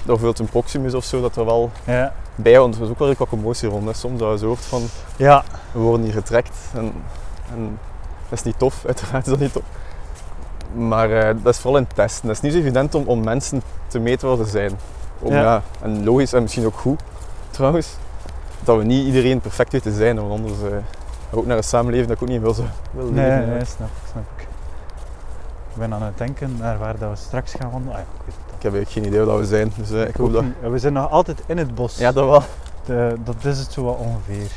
Speaker 2: bijvoorbeeld een Proximus of zo, dat er wel
Speaker 1: Ja.
Speaker 2: bij want Er is ook wel wat commotie rond. Hè. Soms dat je zo hoort van,
Speaker 1: ja,
Speaker 2: we worden hier getrekt. En, en dat is niet tof, uiteraard is dat niet tof. Maar eh, dat is vooral in testen. Dat is niet zo evident om, om mensen te meten waar ze zijn. Om,
Speaker 1: Ja.
Speaker 2: ja. en logisch en misschien ook goed, trouwens, dat we niet iedereen perfect weten te zijn. Want anders eh, gaan we ook naar een samenleving dat ik ook niet wil, zo- wil leven.
Speaker 1: nee,
Speaker 2: ja.
Speaker 1: nee, snap ik, snap ik. Ik ben aan het denken naar waar dat we straks gaan wandelen. Ah ja, ik weet het al.
Speaker 2: Ik heb eigenlijk geen idee waar dat we zijn. Dus eh, ik hoop dat...
Speaker 1: We zijn nog altijd in het bos.
Speaker 2: Ja, dat wel.
Speaker 1: De- dat is het zo wat ongeveer.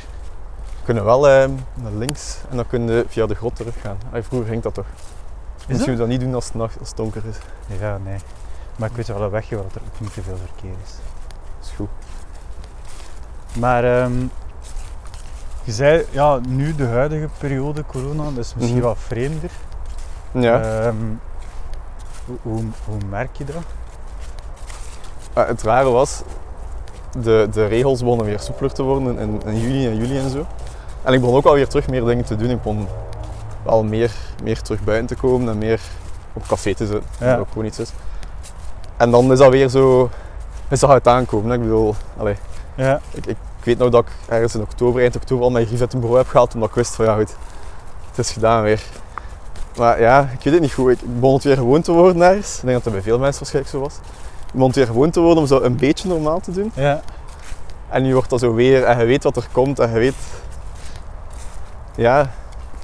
Speaker 2: We kunnen wel eh, naar links en dan kunnen we via de grot teruggaan. Ah, vroeger ging dat toch? Misschien
Speaker 1: dat?
Speaker 2: moeten we dat niet doen als het, nacht, als het donker is.
Speaker 1: Ja, nee. Maar ik weet wel een wegje waar er ook niet te veel verkeer is.
Speaker 2: Dat is goed.
Speaker 1: Maar ehm, je zei, ja, nu de huidige periode corona, dat is misschien
Speaker 2: Mhm.
Speaker 1: wat vreemder.
Speaker 2: Ja.
Speaker 1: Ehm, hoe, hoe, hoe merk je dat?
Speaker 2: Maar Ah, het rare was, de, de regels begonnen weer soepeler te worden in, in juni en juli en zo. En ik begon ook alweer terug meer dingen te doen. Ik begon wel meer, meer terug buiten te komen en meer op café te zitten.
Speaker 1: Ja.
Speaker 2: Dat ook gewoon iets is. En dan is dat weer zo... Ik zag het aankomen. hè. Ik bedoel, allee,
Speaker 1: Ja,
Speaker 2: ik, ik, ik weet nou dat ik ergens in oktober, eind oktober, al mijn grief uit het bureau heb gehaald. Omdat ik wist van ja goed, het is gedaan weer. Maar ja, ik weet het niet goed. Ik ik begon het weer gewoon te worden ergens. Ik denk dat dat bij veel mensen waarschijnlijk zo was. Ik begon het weer gewoon te worden om zo een beetje normaal te doen.
Speaker 1: ja.
Speaker 2: En nu wordt dat zo weer en je weet wat er komt en je weet... Ja,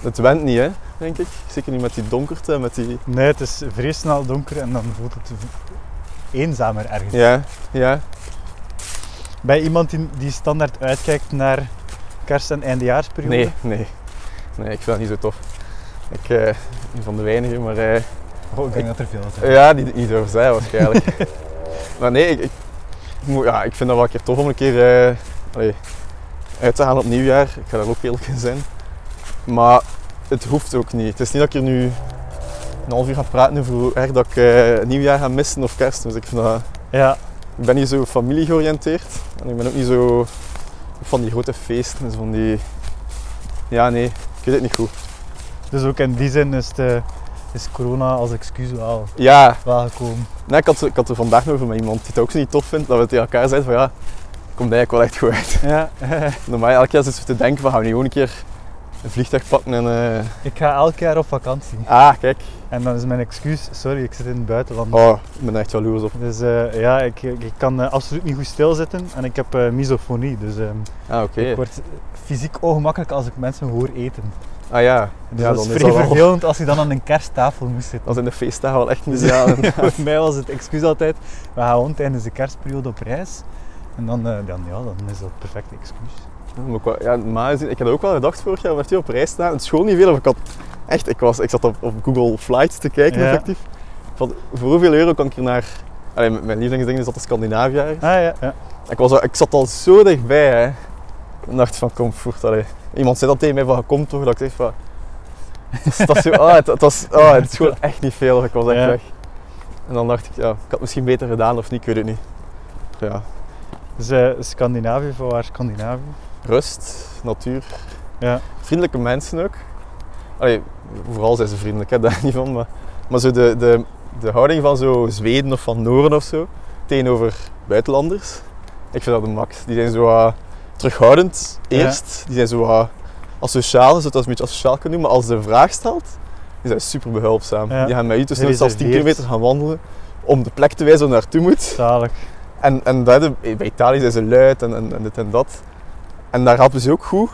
Speaker 2: het went niet hè, denk ik. Zeker niet met die donkerte en met die...
Speaker 1: Nee, het is vrij snel donker en dan voelt het v- eenzamer ergens.
Speaker 2: Ja, ja.
Speaker 1: Bij iemand die, die standaard uitkijkt naar kerst- en eindejaarsperiode?
Speaker 2: Nee, nee. Nee, ik vind dat niet zo tof. Ik eh, een van de weinigen, maar... eh,
Speaker 1: Oh, ik denk dat er veel zijn.
Speaker 2: Ja, die het niet durven zijn waarschijnlijk. maar nee, ik, ik, ik moet- ja, ik vind dat wel een keer tof om een keer eh, allee, uit te gaan op nieuwjaar. Ik ga daar ook eerlijk in zijn. Maar het hoeft ook niet. Het is niet dat ik hier nu een half uur ga praten over hoe erg dat ik eh, nieuwjaar ga missen of kerst. Dus ik, vind dat,
Speaker 1: Ja,
Speaker 2: ik ben niet zo familie georiënteerd. En ik ben ook niet zo van die grote feesten. Dus van die... Ja, nee. Ik weet het niet goed.
Speaker 1: dus ook in die zin is, het, eh, is corona als excuus wel,
Speaker 2: Ja,
Speaker 1: wel gekomen.
Speaker 2: Nee, ik, had, ik had er vandaag nog over met iemand die het ook zo niet tof vindt, dat we tegen elkaar zeiden van ja, het komt eigenlijk wel echt goed uit.
Speaker 1: Ja,
Speaker 2: Normaal elke keer zitten we te denken van gaan we nu gewoon een keer een vliegtuig pakken en... eh,
Speaker 1: ik ga elk jaar op vakantie.
Speaker 2: Ah, kijk.
Speaker 1: En dan is mijn excuus, sorry, ik zit in het buitenland.
Speaker 2: Oh, ik ben er echt jaloers op.
Speaker 1: Dus eh, ja, ik, ik ik kan eh, absoluut niet goed stilzitten en ik heb eh, misofonie. Dus eh,
Speaker 2: Ah, oké.
Speaker 1: ik word fysiek ongemakkelijk als ik mensen hoor eten.
Speaker 2: Ah ja.
Speaker 1: Dus
Speaker 2: Ja,
Speaker 1: dat
Speaker 2: dan
Speaker 1: is
Speaker 2: is
Speaker 1: vrij
Speaker 2: dat wel-
Speaker 1: vervelend als je dan aan een kersttafel moest zitten.
Speaker 2: Dat is in de feestdagen wel echt niet
Speaker 1: Dus ja,
Speaker 2: ideaal.
Speaker 1: voor mij was het excuus altijd, we gaan gewoon tijdens de kerstperiode op reis. En dan, eh, dan, ja, dan is dat het perfecte excuus.
Speaker 2: Dan moet ik wel- Ja, maar ik had ook wel gedacht vorig jaar, werd hij op reis staan. Het schoon niet veel, of ik had... Echt, ik, was, ik zat op, op Google Flights te kijken,
Speaker 1: Ja.
Speaker 2: effectief. Van, voor hoeveel euro kan ik hier naar... Allee, mijn mijn lievelingsding is dat de Scandinavië ergens.
Speaker 1: Ah ja, ja.
Speaker 2: Ik, was, al- ik zat al zo dichtbij, hè. Ik dacht van, kom, voert, allee. Iemand zei dat tegen mij van, je komt toch? Dat ik dacht van... Dat is, dat is zo, ah, het, het was, ah, het is gewoon echt niet veel. Ik was echt
Speaker 1: Ja.
Speaker 2: weg. En dan dacht ik, ja, ik had het misschien beter gedaan of niet, ik weet het niet. Ja,
Speaker 1: Dus eh, Scandinavië, van waar Scandinavië?
Speaker 2: rust, natuur.
Speaker 1: Ja.
Speaker 2: Vriendelijke mensen ook. Allee, vooral zijn ze vriendelijk, hè, daar niet van. Maar, maar zo de, de, de houding van zo Zweden of van Noorden of zo, tegenover buitenlanders. Ik vind dat de max. Die zijn zo... ah, terughoudend
Speaker 1: Ja.
Speaker 2: eerst. Die zijn zo wat asociaal, zodat je dat een beetje asociaal kunnen noemen. Maar als ze een vraag stelt, die zijn super behulpzaam.
Speaker 1: Ja.
Speaker 2: Die gaan met u tussen zelfs 10
Speaker 1: Gereserveerd.
Speaker 2: kilometer gaan wandelen om de plek te wijzen waar je naartoe moet.
Speaker 1: Zalig.
Speaker 2: En, en dat, hebben- bij Italië zijn ze luid en, en, en dit en dat. En daar helpen ze ook goed.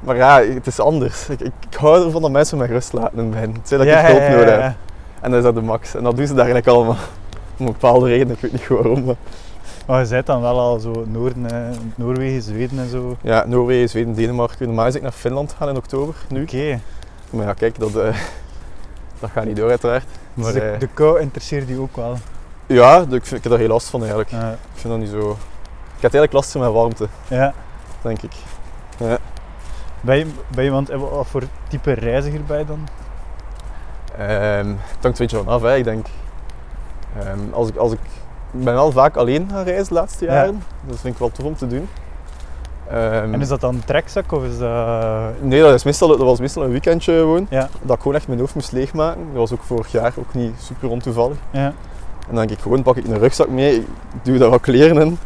Speaker 2: Maar ja, het is anders. Ik, ik, ik hou ervan dat mensen mij rust laten in het begin. Het zijn dat ik niet hulp nodig heb. En dat is dat de max. En dat doen ze daar eigenlijk allemaal. Om een bepaalde reden, ik weet niet waarom. Maar
Speaker 1: Maar je zei dan wel al zo Noorden, eh, Noorwegen, Zweden en zo. Oké.
Speaker 2: ja, Noorwegen, Zweden, Denemarken. Normaal is ik naar Finland gaan in oktober, nu. Maar ja, kijk, dat, eh, dat gaat niet door uiteraard.
Speaker 1: Maar
Speaker 2: Dus,
Speaker 1: de,
Speaker 2: eh,
Speaker 1: de kou interesseert je ook wel.
Speaker 2: Ja, ik, vind, ik heb daar heel last van eigenlijk.
Speaker 1: Ja.
Speaker 2: Ik vind dat niet zo... Ik heb eigenlijk last van mijn warmte,
Speaker 1: ja.
Speaker 2: denk ik.
Speaker 1: Ben, je, ben je iemand, eh, wat voor type reiziger ben je dan?
Speaker 2: Ehm, het hangt er een beetje van af, hè. ik denk. Ehm, als ik, als ik, ik ben wel vaak alleen gaan reizen de laatste
Speaker 1: Ja.
Speaker 2: jaren. Dat vind ik wel tof om te doen. Ehm,
Speaker 1: En is dat dan een trekzak of is dat...
Speaker 2: Nee, dat, is meestal, dat was meestal een weekendje gewoon.
Speaker 1: Ja.
Speaker 2: Dat ik gewoon echt mijn hoofd moest leegmaken. Dat was ook vorig jaar ook niet super ontoevallig.
Speaker 1: Ja.
Speaker 2: En dan denk ik gewoon, pak ik een rugzak mee, ik doe daar wat kleren in.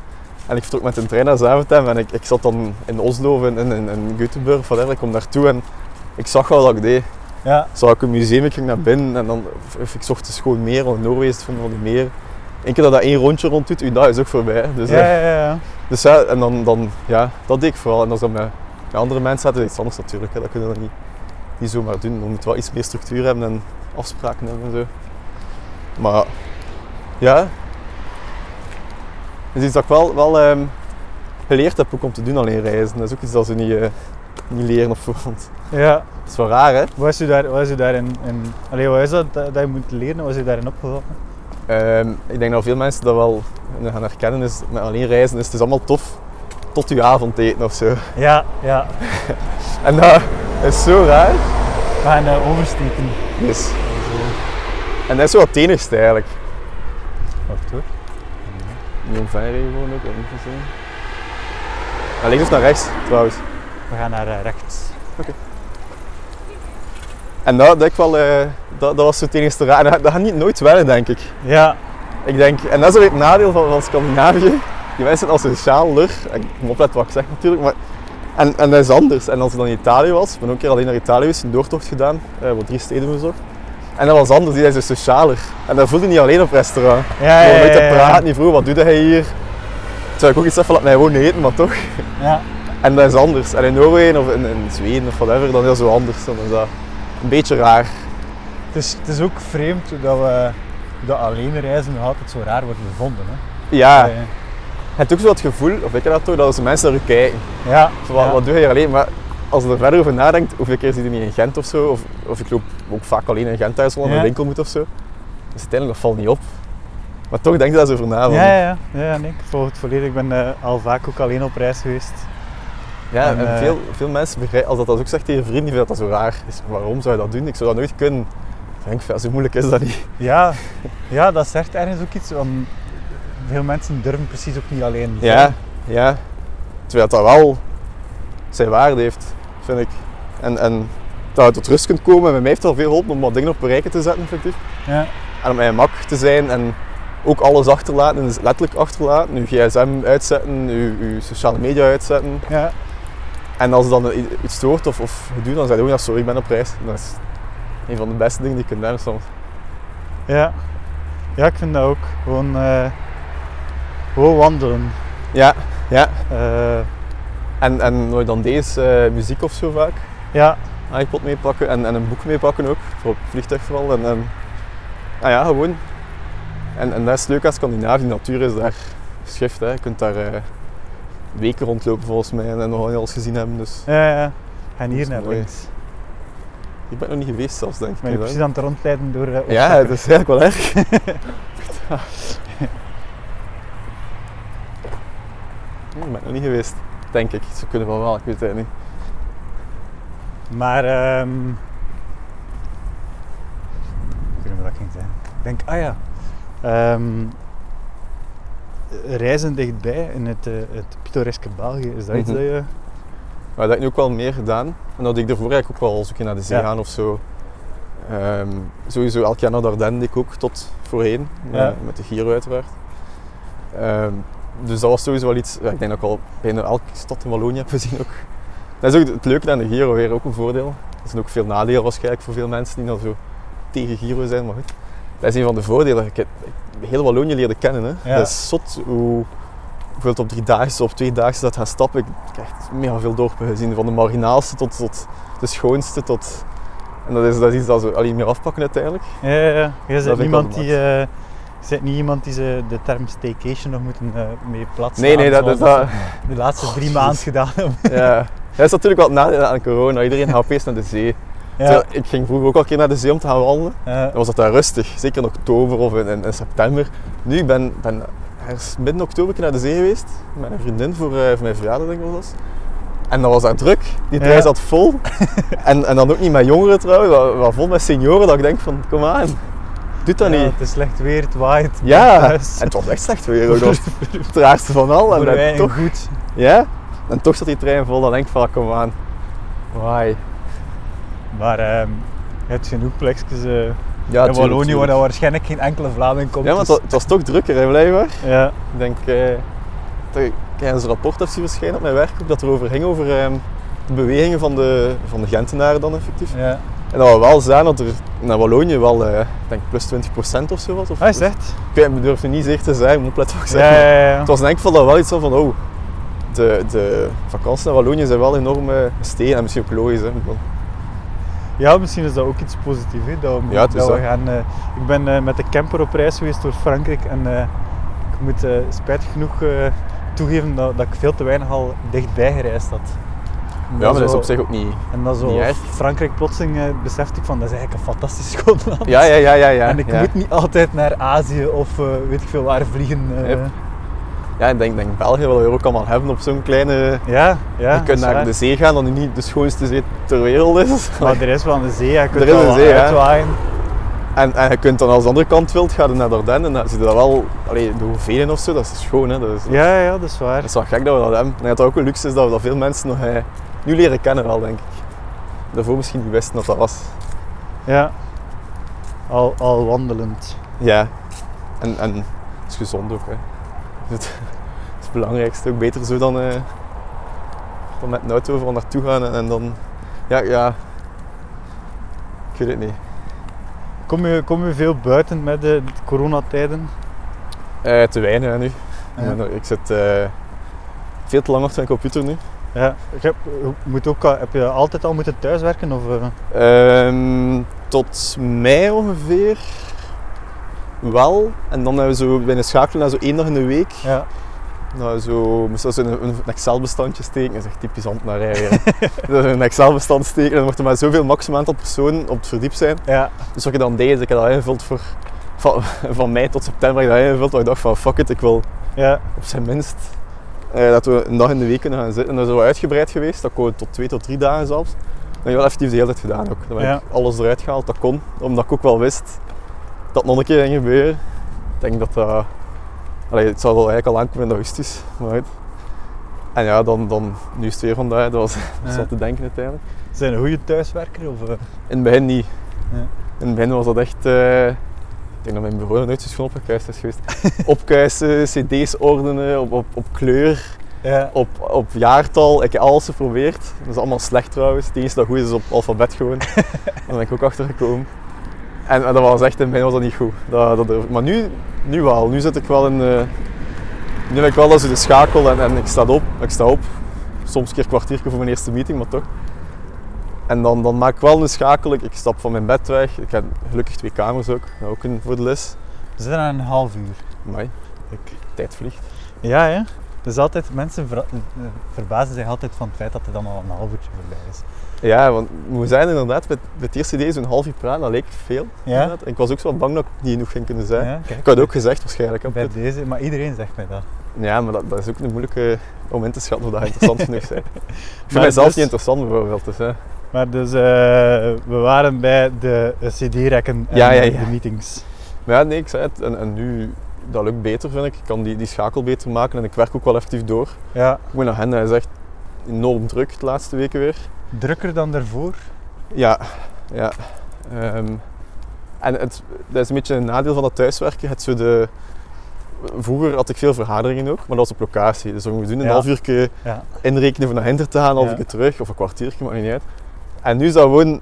Speaker 2: En ik vertrok met een trein naar Zaventem en ik, ik zat dan in Oslo of in, in, in, in Göteborg of whatever. Ik kom daartoe en ik zag wel wat ik deed.
Speaker 1: Ja.
Speaker 2: Zag ik een museum, ik ging naar binnen en dan, of- of ik zocht dus gewoon meer, want Noorwegen is het van de meer. Eén keer dat dat één rondje rond doet, uw dag is ook voorbij. Dus,
Speaker 1: ja,
Speaker 2: eh,
Speaker 1: ja, ja, ja.
Speaker 2: dus ja, en dan, dan, ja, dat deed ik vooral. En als dat met, met andere mensen zaten, is het iets anders natuurlijk. Hè. Dat kunnen we dan niet, niet zomaar doen. We moeten wel iets meer structuur hebben en afspraken hebben en zo. Maar ja, het is iets dat ik wel, wel ehm, geleerd heb ook om te doen alleen reizen. Dat is ook iets dat ze niet, eh, niet leren op voorhand.
Speaker 1: Ja.
Speaker 2: Dat is wel raar hè.
Speaker 1: Wat is je daar, wat is je daarin... In, allee, wat is dat dat dat je moet leren? Wat is je daarin opgevallen?
Speaker 2: Ehm, ik denk dat veel mensen dat wel gaan herkennen. Is, met alleen reizen is het dus allemaal tof tot je avondeten of zo.
Speaker 1: Ja, ja.
Speaker 2: En dat is zo raar.
Speaker 1: We gaan eh, oversteken.
Speaker 2: Yes. En dat is zo wat het enigste eigenlijk.
Speaker 1: Wacht hoor.
Speaker 2: Niet omverrijden gewoon ook, dat moet niet zijn. Naar links of dus naar rechts trouwens.
Speaker 1: We gaan naar eh, rechts.
Speaker 2: En dat, dat, ik wel, eh, dat, dat was zo het enigste raar. En dat, dat gaat niet nooit wennen denk ik.
Speaker 1: Ja.
Speaker 2: Ik denk, en dat is weer het nadeel van, van Scandinavië. Die mensen zijn als sociaal lur. Ik moet opletten wat ik zeg natuurlijk. Maar, en, en dat is anders. En als ik dan in Italië was, ik ben ook een keer alleen naar Italië geweest, een doortocht gedaan, eh wat drie steden bezocht. En dat was anders, die zijn zo socialer. En dat voelde niet alleen op restaurant.
Speaker 1: Ja,
Speaker 2: Je
Speaker 1: ja,
Speaker 2: hoorde
Speaker 1: ja,
Speaker 2: nooit
Speaker 1: ja.
Speaker 2: te praten, niet vroeg, wat doe jij hier? Terwijl ik ook iets heb van, laat mij gewoon eten, maar toch.
Speaker 1: Ja.
Speaker 2: En dat is anders. En in Noorwegen of in, in Zweden of whatever, dan is dat zo anders. Dan is dat een beetje raar.
Speaker 1: Het is, het is ook vreemd hoe dat we dat alleen reizen nog altijd zo raar wordt gevonden. Hè?
Speaker 2: Ja,
Speaker 1: Eh,
Speaker 2: het is ook zo het gevoel, of ik heb dat toch, dat als mensen naar je kijken.
Speaker 1: ja.
Speaker 2: Zo, wat,
Speaker 1: ja.
Speaker 2: wat doe je hier alleen? Maar als je er verder over nadenkt, hoeveel keer zit je niet in Gent of zo? Of, of ik loop ook vaak alleen in Gent thuis, omdat ik
Speaker 1: Ja.
Speaker 2: naar de winkel moet of zo. Dus uiteindelijk, dat valt niet op. Maar toch denk je daar zo over na. van-
Speaker 1: Ja, ja, ja, ja, nee, ik volg het volledig. Ik ben eh, al vaak ook alleen op reis geweest.
Speaker 2: Ja,
Speaker 1: En,
Speaker 2: en,
Speaker 1: eh,
Speaker 2: veel, veel mensen begrijpen, als dat, dat ook zegt tegen vrienden, die vinden dat dat zo raar is. Waarom zou je dat doen? Ik zou dat nooit kunnen. Ik denk, ja, zo moeilijk is dat niet.
Speaker 1: Ja, ja dat zegt ergens ook iets. Want veel mensen durven precies ook niet alleen. te
Speaker 2: Ja,
Speaker 1: zijn.
Speaker 2: ja. Terwijl dat wel zijn waarde heeft, vind ik. En, en dat je tot rust kunt komen. En bij mij heeft het al veel geholpen om wat dingen op bereiken te zetten, effectief.
Speaker 1: Ja.
Speaker 2: en op mijn mak te zijn en ook alles achterlaten, en dus letterlijk achterlaten. Uw gsm uitzetten, uw, uw sociale media uitzetten.
Speaker 1: ja.
Speaker 2: En als dan i- iets stoort of, of gedoe, dan zeg je ook, ja, sorry, ik ben op reis. Dat is een van de beste dingen die je kunt doen soms.
Speaker 1: Ja. Ja, ik vind dat ook. Gewoon, eh, gewoon wandelen.
Speaker 2: Ja, ja.
Speaker 1: Eh,
Speaker 2: En, en wat je dan deze eh, muziek of zo vaak,
Speaker 1: ja,
Speaker 2: iPod meepakken en, en een boek meepakken ook, voor op het vliegtuig vooral. En, en, ah ja, gewoon. En, en dat is leuk aan Scandinavië, de natuur is daar schift. Hè. Je kunt daar eh, weken rondlopen volgens mij en, en nog niet alles gezien hebben. Dus.
Speaker 1: ja, ja. En
Speaker 2: Dat
Speaker 1: hier
Speaker 2: is
Speaker 1: naar
Speaker 2: mooi.
Speaker 1: links.
Speaker 2: Ik ben nog niet geweest zelfs, denk ik.
Speaker 1: Ik ben je precies aan het rondleiden door... eh,
Speaker 2: Ja, dat is eigenlijk wel erg. Nee, ik ben nog niet geweest, denk ik. Ze kunnen van wel, ik weet het eigenlijk niet.
Speaker 1: Maar ehm ik weet niet wat ik ging zeggen. Ik denk, ah ja. ehm, reizen dichtbij in het, eh, het pittoreske België, is dat iets
Speaker 2: Mhm.
Speaker 1: dat je...
Speaker 2: Maar dat heb ik nu ook wel meer gedaan. En dat ik daarvoor eigenlijk ook wel eens een keer naar de zee
Speaker 1: Ja.
Speaker 2: gaan of zo. Ehm, sowieso elk jaar naar eh, de Ardennen, deed ik ook tot voorheen.
Speaker 1: Ja.
Speaker 2: eh, met de Giro uiteraard. Ehm, Dus dat was sowieso wel iets, ja, ik denk dat ik al bijna elke stad in Wallonië heb gezien ook. Dat is ook het leuke aan de Giro weer, ook een voordeel. Er zijn ook veel nadelen waarschijnlijk voor veel mensen die dan zo tegen Giro zijn, maar goed. Dat is een van de voordelen. Ik heb heel Wallonië leren kennen. Hè.
Speaker 1: Ja.
Speaker 2: Dat is zot hoe bijvoorbeeld op drie dagen of twee dagen dat gaan stappen. Ik heb echt mega veel dorpen gezien, van de marginaalste tot, tot de schoonste. Tot... En dat is, dat is iets dat ze alleen meer afpakken uiteindelijk.
Speaker 1: Ja, ja, ja. Je
Speaker 2: vind
Speaker 1: bent
Speaker 2: ik
Speaker 1: niemand
Speaker 2: wel
Speaker 1: die... eh, je bent niet iemand die ze de term staycation nog moeten eh, mee plaatsen.
Speaker 2: Nee, nee, dat is
Speaker 1: zoals
Speaker 2: dat.
Speaker 1: ze De laatste drie
Speaker 2: jezus.
Speaker 1: maanden gedaan hebben.
Speaker 2: Ja. Dat is natuurlijk wat nadeel aan corona. Iedereen gaat opeens naar de zee.
Speaker 1: Ja,
Speaker 2: Terwijl Ik ging vroeger ook al een keer naar de zee om te gaan wandelen.
Speaker 1: eh,
Speaker 2: Dan was dat daar rustig, zeker in oktober of in, in, in september. Nu, ik ben, ben ergens midden oktober een keer naar de zee geweest. Met een vriendin voor, eh, voor mijn verjaardag, denk ik was dat. En dan was daar druk. Die
Speaker 1: Ja.
Speaker 2: trein zat vol. en, en dan ook niet met jongeren trouwens, maar, maar vol met senioren. Dat ik denk van, kom aan, doe dat
Speaker 1: ja,
Speaker 2: niet.
Speaker 1: het is slecht weer, het waait.
Speaker 2: Ja, en
Speaker 1: thuis.
Speaker 2: het was echt slecht weer. ook. Dat was het raarste van al. En
Speaker 1: Voor
Speaker 2: dan
Speaker 1: wij
Speaker 2: toch,
Speaker 1: toch goed.
Speaker 2: ja? en toch zat die trein vol. Dan denk ik van, ah, kom aan. Why?
Speaker 1: Maar ehm, je hebt genoeg plekjes eh
Speaker 2: Ja,
Speaker 1: in
Speaker 2: tuurlijk,
Speaker 1: Wallonië waar
Speaker 2: tuurlijk.
Speaker 1: dat waarschijnlijk geen enkele Vlaming komt.
Speaker 2: Ja, want
Speaker 1: dus-
Speaker 2: het was toch drukker, hè, blijkbaar.
Speaker 1: ja.
Speaker 2: Ik denk eh, dat ik tijdens een rapport heb zien verschijnen op mijn werk, ook dat er over ging, over ehm, de bewegingen van de, van de Gentenaren dan effectief.
Speaker 1: ja.
Speaker 2: En dat we wel zagen dat er naar Wallonië wel, eh, ik denk plus 20% of zo was. Of,
Speaker 1: Hij Ah, is echt.
Speaker 2: Ik weet- ik durf het niet zeker te zeggen, ik moet opletten wat ik zeg.
Speaker 1: Ja, ja, ja.
Speaker 2: Het was denk ik van dat wel iets van, van, oh, de, de vakanties naar Wallonië zijn wel enorm eh, gestegen en misschien ook logisch. Hè. want-
Speaker 1: Ja, misschien is dat ook iets positiefs. hè, Dat we,
Speaker 2: Ja, het is
Speaker 1: dat we
Speaker 2: dat.
Speaker 1: gaan, eh, ik ben eh, met de camper op reis geweest door Frankrijk en eh, ik moet eh, spijtig genoeg eh, toegeven dat, dat ik veel te weinig al dichtbij gereisd had.
Speaker 2: Ja, maar dat is
Speaker 1: zo-
Speaker 2: op zich ook niet...
Speaker 1: En dan zo
Speaker 2: Niet erg.
Speaker 1: Frankrijk plotseling eh, besefte ik van dat is eigenlijk een fantastisch schoon land.
Speaker 2: Ja, ja, ja, ja. ja
Speaker 1: en ik
Speaker 2: ja.
Speaker 1: moet niet altijd naar Azië of eh, weet ik veel waar vliegen. eh.
Speaker 2: Yep. Ja, ik denk, denk België wil je ook allemaal hebben op zo'n kleine...
Speaker 1: Ja, ja.
Speaker 2: je kunt
Speaker 1: dat is
Speaker 2: naar
Speaker 1: waar.
Speaker 2: de zee gaan, dat nu niet de schoonste zee ter wereld is.
Speaker 1: Maar de rest van de zee, ja, je kunt
Speaker 2: Er is
Speaker 1: wel
Speaker 2: een
Speaker 1: wat
Speaker 2: zee, hè.
Speaker 1: uitwaaien.
Speaker 2: En, en je kunt dan als de andere kant wilt, ga je naar Dardenne en dan zie je dat wel, allee, de hoeveel of zo, dat is schoon hè. Dat is,
Speaker 1: Ja, ja, dat is waar.
Speaker 2: dat is wel gek dat we dat hebben. En dat dat ook een luxe is dat we dat veel mensen nog eh, nu leren kennen wel, denk ik. Daarvoor misschien niet wisten dat dat was.
Speaker 1: Ja. Al, al wandelend.
Speaker 2: Ja. En, en het is gezond ook hè. Het, het is het belangrijkste, ook beter zo dan, eh, dan met een auto overal naartoe gaan en, en dan, ja, ja. Ik weet het niet.
Speaker 1: Kom je, kom je veel buiten met de coronatijden?
Speaker 2: Eh, te weinig hè, nu.
Speaker 1: Ja.
Speaker 2: Ik ben- Ik zit eh, veel te lang achter mijn computer nu.
Speaker 1: Ja. Je hebt- je moet ook, al- heb je altijd al moeten thuiswerken? Of, eh?
Speaker 2: Ehm, tot mei ongeveer wel. En dan hebben we zo bijna schakelen naar zo één dag in de week.
Speaker 1: ja.
Speaker 2: Nou, zo, moest dat zo in een, een Excel-bestandje steken. Dat is echt typisch ambtenarij weer. hè. dat is een Excel-bestand steken en dan wordt er maar zoveel maximum aantal personen op het verdiep zijn.
Speaker 1: ja.
Speaker 2: Dus wat ik dan deed, is ik heb dat ingevuld voor... Van, van mei tot september heb ik dat ingevuld. Want ik dacht van, fuck it, ik wil
Speaker 1: Ja.
Speaker 2: op zijn minst eh, dat we een dag in de week kunnen gaan zitten. En dat is wel uitgebreid geweest, dat kon tot twee tot drie dagen zelfs. Dat heb ik wel effectief de hele tijd gedaan ook. Dan heb
Speaker 1: Ja.
Speaker 2: ik alles eruit gehaald dat kon, omdat ik ook wel wist dat het nog een keer ging gebeuren. Ik denk dat dat... allee, het zou wel eigenlijk al aankomen in augustus. Maar goed. En ja, dan, dan, nu is het weer vandaag, dat was
Speaker 1: Ja.
Speaker 2: dat zat te denken uiteindelijk.
Speaker 1: Eh, Zijn een goede thuiswerker? Of, eh?
Speaker 2: In het begin niet.
Speaker 1: Ja.
Speaker 2: In het begin was dat echt... eh, ik denk dat mijn bureau nog nooit zo schoon opgekuist is geweest. Opkuisen, cd's ordenen, op, op, op kleur
Speaker 1: ja.
Speaker 2: op, op jaartal. Ik heb alles geprobeerd. Dat is allemaal slecht trouwens. Het enige dat goed is, is op alfabet gewoon. Daar ben ik ook achter gekomen. En, en dat was echt, in het begin was dat niet goed. Dat, dat durf ik. Maar nu, nu wel. Nu zit ik wel in. eh, nu heb ik wel als de schakel en, en ik sta op. Ik sta op. Soms een keer een kwartiertje voor mijn eerste meeting, maar toch. En dan, dan maak ik wel een schakel. Ik, ik stap van mijn bed weg. Ik heb gelukkig twee kamers ook. Dat is Ook een voor de les.
Speaker 1: We zijn aan een half uur.
Speaker 2: Amai, ik, tijd vliegt.
Speaker 1: Ja, ja. Dus altijd, mensen ver- eh, verbazen zich altijd van het feit dat het dan al een half uurtje voorbij is.
Speaker 2: Ja, want ik moet zijn inderdaad, met, met het eerste idee zo'n half uur praten, dat leek veel.
Speaker 1: Ja?
Speaker 2: inderdaad. En ik was ook zo bang dat ik niet genoeg ging kunnen zijn.
Speaker 1: ja kijk,
Speaker 2: Ik had het ook gezegd waarschijnlijk. hè, op
Speaker 1: bij
Speaker 2: dit.
Speaker 1: deze, maar iedereen zegt mij dat.
Speaker 2: Ja, maar dat, dat is ook een moeilijke om in te schatten of dat interessant genoeg zijn. Ik vind
Speaker 1: Maar
Speaker 2: mijzelf
Speaker 1: dus-
Speaker 2: niet interessant bijvoorbeeld. Dus, hè.
Speaker 1: Maar dus, eh, we waren bij de eh, CD-rekken en
Speaker 2: Ja, ja, ja.
Speaker 1: de meetings.
Speaker 2: Maar ja, nee, ik zei het. En, en nu, dat lukt beter vind ik. Ik kan die, die schakel beter maken en ik werk ook wel effectief door.
Speaker 1: Ja,
Speaker 2: Ik moet naar hen, hij is echt enorm druk de laatste weken weer.
Speaker 1: drukker dan daarvoor.
Speaker 2: Ja, ja. Ehm, en het, dat is een beetje een nadeel van dat thuiswerken. Het zo de, vroeger had ik veel vergaderingen ook, maar dat was op locatie. Dus we moesten doen een
Speaker 1: Ja.
Speaker 2: half uurtje
Speaker 1: Ja.
Speaker 2: inrekenen van naar hinder te gaan, een half
Speaker 1: Ja.
Speaker 2: uurtje terug, of een kwartiertje, maakt niet uit. En nu is dat gewoon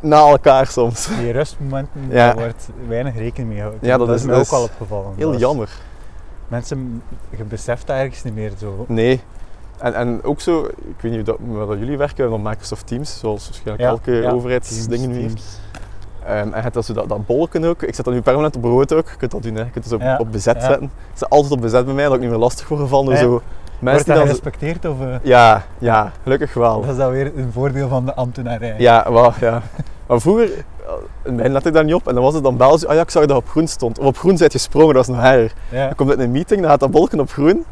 Speaker 2: na elkaar soms.
Speaker 1: Die rustmomenten,
Speaker 2: Ja.
Speaker 1: daar wordt weinig rekening mee gehouden.
Speaker 2: Ja, dat
Speaker 1: dat
Speaker 2: is-
Speaker 1: mij
Speaker 2: dat
Speaker 1: ook
Speaker 2: is
Speaker 1: al opgevallen.
Speaker 2: Heel
Speaker 1: Dat is-
Speaker 2: jammer.
Speaker 1: Mensen, je beseft dat ergens niet meer zo.
Speaker 2: Nee. En, en ook zo, ik weet niet hoe dat, hoe dat jullie werken, van Microsoft Teams, zoals waarschijnlijk
Speaker 1: Ja,
Speaker 2: elke
Speaker 1: ja.
Speaker 2: overheidsdingen
Speaker 1: Teams,
Speaker 2: weer.
Speaker 1: teams.
Speaker 2: Ehm, en het dat, zo dat, dat bolken ook. Ik zet dat nu permanent op rood ook. Je kunt dat doen, hè. je kunt het op,
Speaker 1: Ja,
Speaker 2: op bezet
Speaker 1: ja.
Speaker 2: zetten. Het is altijd op bezet bij mij, dat ik niet meer lastig word gevallen door
Speaker 1: Ja.
Speaker 2: zo
Speaker 1: Wordt
Speaker 2: mensen
Speaker 1: dat
Speaker 2: die dan...
Speaker 1: gerespecteerd of... eh,
Speaker 2: Ja, ja, gelukkig wel.
Speaker 1: Dat is dan weer een voordeel van de ambtenarij.
Speaker 2: Ja, wel, ja. Maar vroeger, eh, mij let ik daar niet op. En dan was het dan bel ze, ah ja, ik zag dat op groen stond. Of op groen zijt gesprongen, dat is nog erger.
Speaker 1: Ja.
Speaker 2: Dan komt uit een meeting, dan gaat dat bolken op groen.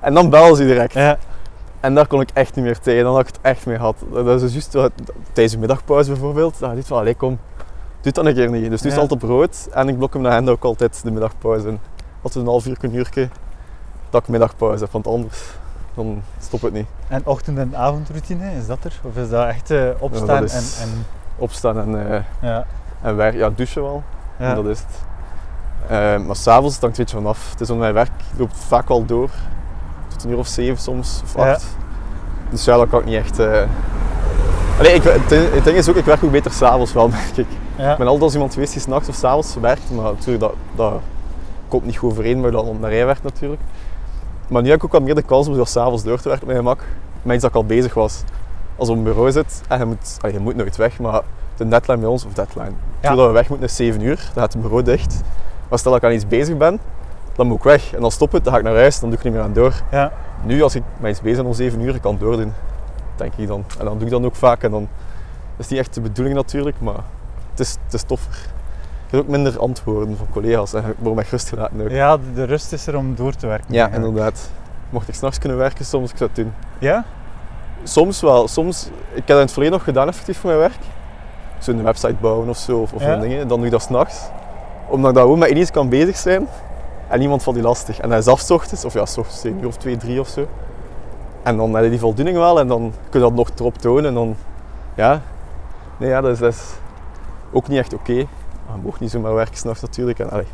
Speaker 2: En dan bel ze direct.
Speaker 1: Ja.
Speaker 2: En daar kon ik echt niet meer tegen. Dan had ik het echt mee gehad. Dat is dus juist wat- tijdens de middagpauze bijvoorbeeld. Dat je ziet van, allee kom, doe het dan een keer niet. Dus nu is
Speaker 1: Ja.
Speaker 2: het altijd op rood. En ik blok hem naar hen ook altijd de middagpauze. in. Altijd een half uur, een uurtje dat ik middagpauze heb. Want anders, dan stop het niet.
Speaker 1: En ochtend- en avondroutine, is dat er? Of is dat echt eh, opstaan
Speaker 2: dat is-
Speaker 1: en... en
Speaker 2: Opstaan en, eh,
Speaker 1: ja.
Speaker 2: en werk. Ja, douchen wel.
Speaker 1: Ja.
Speaker 2: Dat is het. Eh, maar s'avonds hangt het een beetje vanaf. Het is om mijn werk, loopt vaak wel door. Tot een uur of zeven soms, of
Speaker 1: Ja.
Speaker 2: acht. Dus ja, dat kan ik niet echt... eh. Allee, ik, het, ding- het ding is ook, ik werk ook beter s'avonds wel, merk ik.
Speaker 1: Ja.
Speaker 2: Ik ben altijd als iemand geweest die s'nachts of s'avonds werkt, maar natuurlijk, dat, dat komt niet goed overeen met dat naar rij werkt natuurlijk. Maar nu heb ik ook wat meer de kans om zo s'avonds door te werken op mijn gemak, met iets dat ik al bezig was. Als je op een bureau zit en je moet, allee, je moet nooit weg, maar de deadline bij ons, of deadline,
Speaker 1: Ja.
Speaker 2: toen dat we weg moeten is 7 uur, dan gaat het bureau dicht. Maar stel dat ik aan iets bezig ben, dan moet ik weg. En dan stop het, dan ga ik naar huis, dan doe ik er niet meer aan door.
Speaker 1: Ja.
Speaker 2: Nu, als ik met iets bezig ben om 7 uur, ik kan doordoen, denk ik dan. En dan doe ik dat ook vaak en dan dat is niet echt de bedoeling natuurlijk, maar het is, het is toffer. Ik heb ook minder antwoorden van collega's en ik word mij gerustgelaten ook. Ja,
Speaker 1: Ja, de, de rust is er om door te werken. eigenlijk.
Speaker 2: inderdaad. Mocht ik s'nachts kunnen werken soms, ik zou het doen.
Speaker 1: Ja?
Speaker 2: Soms wel. Soms, ik heb dat in het verleden nog gedaan effectief voor mijn werk. Zo een website bouwen of zo, of, of
Speaker 1: Ja.
Speaker 2: zo'n dingen. Dan doe ik dat s'nachts. Omdat ik daar gewoon met ineens kan bezig zijn. En niemand valt die lastig. En dat is af 's ochtends, of ja, s ochtends een uur of twee, drie of zo. En dan heb je die voldoening wel en dan kun je dat nog erop tonen. En dan, ja. Nee, ja, dat is, dat is ook niet echt oké. Maar Je mag niet zomaar werken s'nachts natuurlijk. En, allee,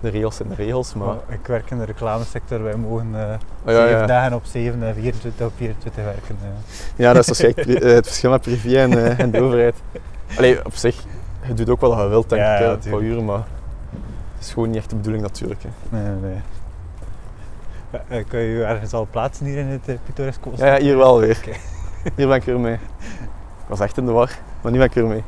Speaker 2: de regels zijn de regels, maar...
Speaker 1: Maar ik werk in de reclamesector, wij mogen eh
Speaker 2: Ah, ja,
Speaker 1: 7
Speaker 2: ja.
Speaker 1: dagen op 7 en 24 op 24 werken. ja.
Speaker 2: Ja, dat is waarschijnlijk pri- eh, het verschil met privé en, eh, en de overheid. Allee, op zich, je doet ook wel wat je wilt, denk
Speaker 1: Ja,
Speaker 2: ik,
Speaker 1: ja,
Speaker 2: eh, een paar
Speaker 1: tuurlijk.
Speaker 2: uren, maar het is gewoon niet echt de bedoeling natuurlijk. Hè.
Speaker 1: Nee, nee, nee. Ja, eh, kun je je ergens al plaatsen hier in het uh, pittoresk
Speaker 2: Ja, ja, hier wel weer.
Speaker 1: Oké.
Speaker 2: Hier ben ik weer mee. Ik was echt in de war, maar nu ben ik weer mee.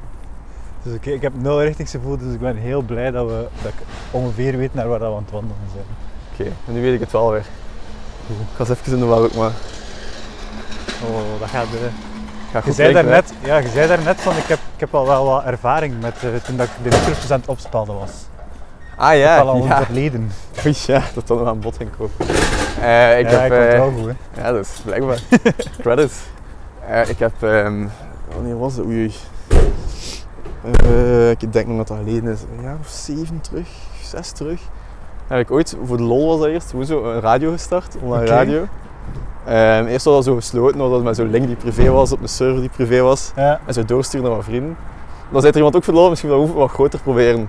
Speaker 1: Dus ik, ik heb nul richtingsgevoel, dus ik ben heel blij dat, we, dat ik ongeveer weet naar waar dat we aan het wandelen zijn.
Speaker 2: Oké, en nu weet ik het wel weer. Ik was even in de war ook, maar...
Speaker 1: Oh, dat gaat... eh,
Speaker 2: ik Ga
Speaker 1: Je
Speaker 2: goed
Speaker 1: zei,
Speaker 2: kijken, hè.
Speaker 1: daarnet, ja, je zei daarnet van ik heb, ik heb al wel wat ervaring met eh, toen dat ik de micro's aan het opspelden was.
Speaker 2: Ah ja,
Speaker 1: al al
Speaker 2: ja.
Speaker 1: verleden.
Speaker 2: Oei, ja, dat dan nog aan bod ging kopen. Eh, ik
Speaker 1: ja,
Speaker 2: heb...
Speaker 1: ik
Speaker 2: eh,
Speaker 1: onthoud goed. hè.
Speaker 2: Ja, dat is blijkbaar. Credits. Eh, ik heb. ehm, wanneer was het? Oei. oei. Eh, ik denk nog dat dat geleden is. Een jaar of zeven terug, zes terug. Heb ik ooit, voor de lol was dat eerst, hoe zo, een radio gestart, online
Speaker 1: Oké.
Speaker 2: radio. Ehm, eerst was dat zo gesloten, omdat het met zo'n link die privé was, op een server die privé was.
Speaker 1: Ja,
Speaker 2: En zo doorsturen naar mijn vrienden. Dan zei er iemand ook voor de lol, misschien dat we wat groter proberen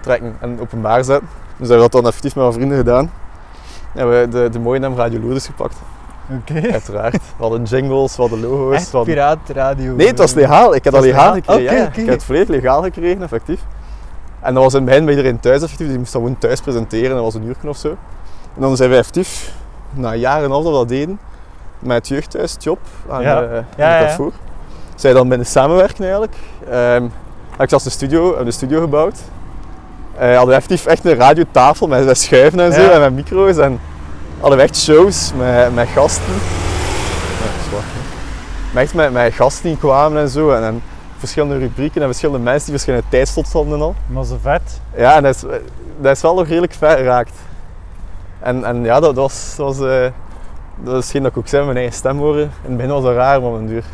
Speaker 2: trekken en openbaar zetten. Dus hebben we dat dan effectief met mijn vrienden gedaan. En we hebben de, de mooie naam Radio Lourdes gepakt.
Speaker 1: oké.
Speaker 2: Uiteraard. We hadden jingles, we hadden logo's.
Speaker 1: Echt Eh,
Speaker 2: we hadden-
Speaker 1: piraatradio.
Speaker 2: Nee, het was legaal. Ik heb
Speaker 1: Het
Speaker 2: dat
Speaker 1: was
Speaker 2: legaal
Speaker 1: legaal?
Speaker 2: gekregen. ja,
Speaker 1: Oké,
Speaker 2: ja.
Speaker 1: oké.
Speaker 2: Ik heb het volledig legaal gekregen, effectief. En dat was in het begin bij iedereen thuis, effectief. Dus ik moest dat gewoon thuis presenteren. Dat was een uur of zo. En dan zijn we effectief, na jaren en een half dat we dat deden, met het jeugdhuis, het job, aan,
Speaker 1: Ja.
Speaker 2: de,
Speaker 1: Ja,
Speaker 2: aan
Speaker 1: ja, ja.
Speaker 2: het Carrefour. Zij dan binnen samenwerken eigenlijk. Ehm, had ik zelfs een studio, hebben een studio gebouwd. Eh hadden we effectief echt een radiotafel met, met schuiven en zo,
Speaker 1: Ja.
Speaker 2: en met micro's. En hadden we echt shows met, met gasten. Ja, dat is waar, hè. Maar echt met, met gasten die kwamen en zo. En, en verschillende rubrieken en verschillende mensen die verschillende tijdslots hadden en al.
Speaker 1: Maar zo vet.
Speaker 2: Ja, en dat is, dat is wel nog redelijk ver geraakt. En, en ja, dat, dat was... Dat, was, eh, dat is geen dat ik ook zei, mijn eigen stem horen. In het begin was dat raar, maar op een duur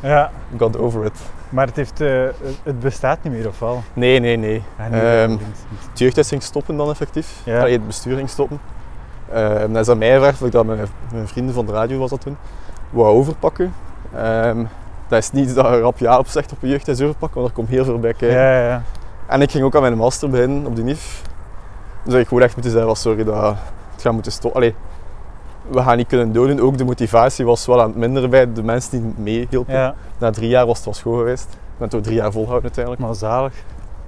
Speaker 1: Ja,
Speaker 2: got over it.
Speaker 1: maar het, heeft, eh, het bestaat niet meer, of wel?
Speaker 2: Nee, nee, nee.
Speaker 1: Ja,
Speaker 2: Ehm,
Speaker 1: nee, links niet.
Speaker 2: het jeugdhuis ging stoppen dan effectief.
Speaker 1: Ja.
Speaker 2: Allee, het bestuur ging stoppen. Ehm dan is aan mij gevraagd of ik dat mijn, mijn vrienden van de radio was dat toen, wou overpakken. Ehm, dat is niet dat je rap ja op zegt op een jeugdhuis overpakken, want er komt heel veel bij kijken.
Speaker 1: ja, ja, ja.
Speaker 2: En ik ging ook aan mijn master beginnen op die NIF. Dus ik gewoon echt moeten zeggen, van, sorry, dat, ga moeten stoppen. Allee, we gaan niet kunnen doden. Ook de motivatie was wel aan het minderen bij de mensen die meehielpen.
Speaker 1: Ja,
Speaker 2: Na drie jaar was het wel schoon geweest. We hebben het ook drie jaar volhouden uiteindelijk.
Speaker 1: maar zalig.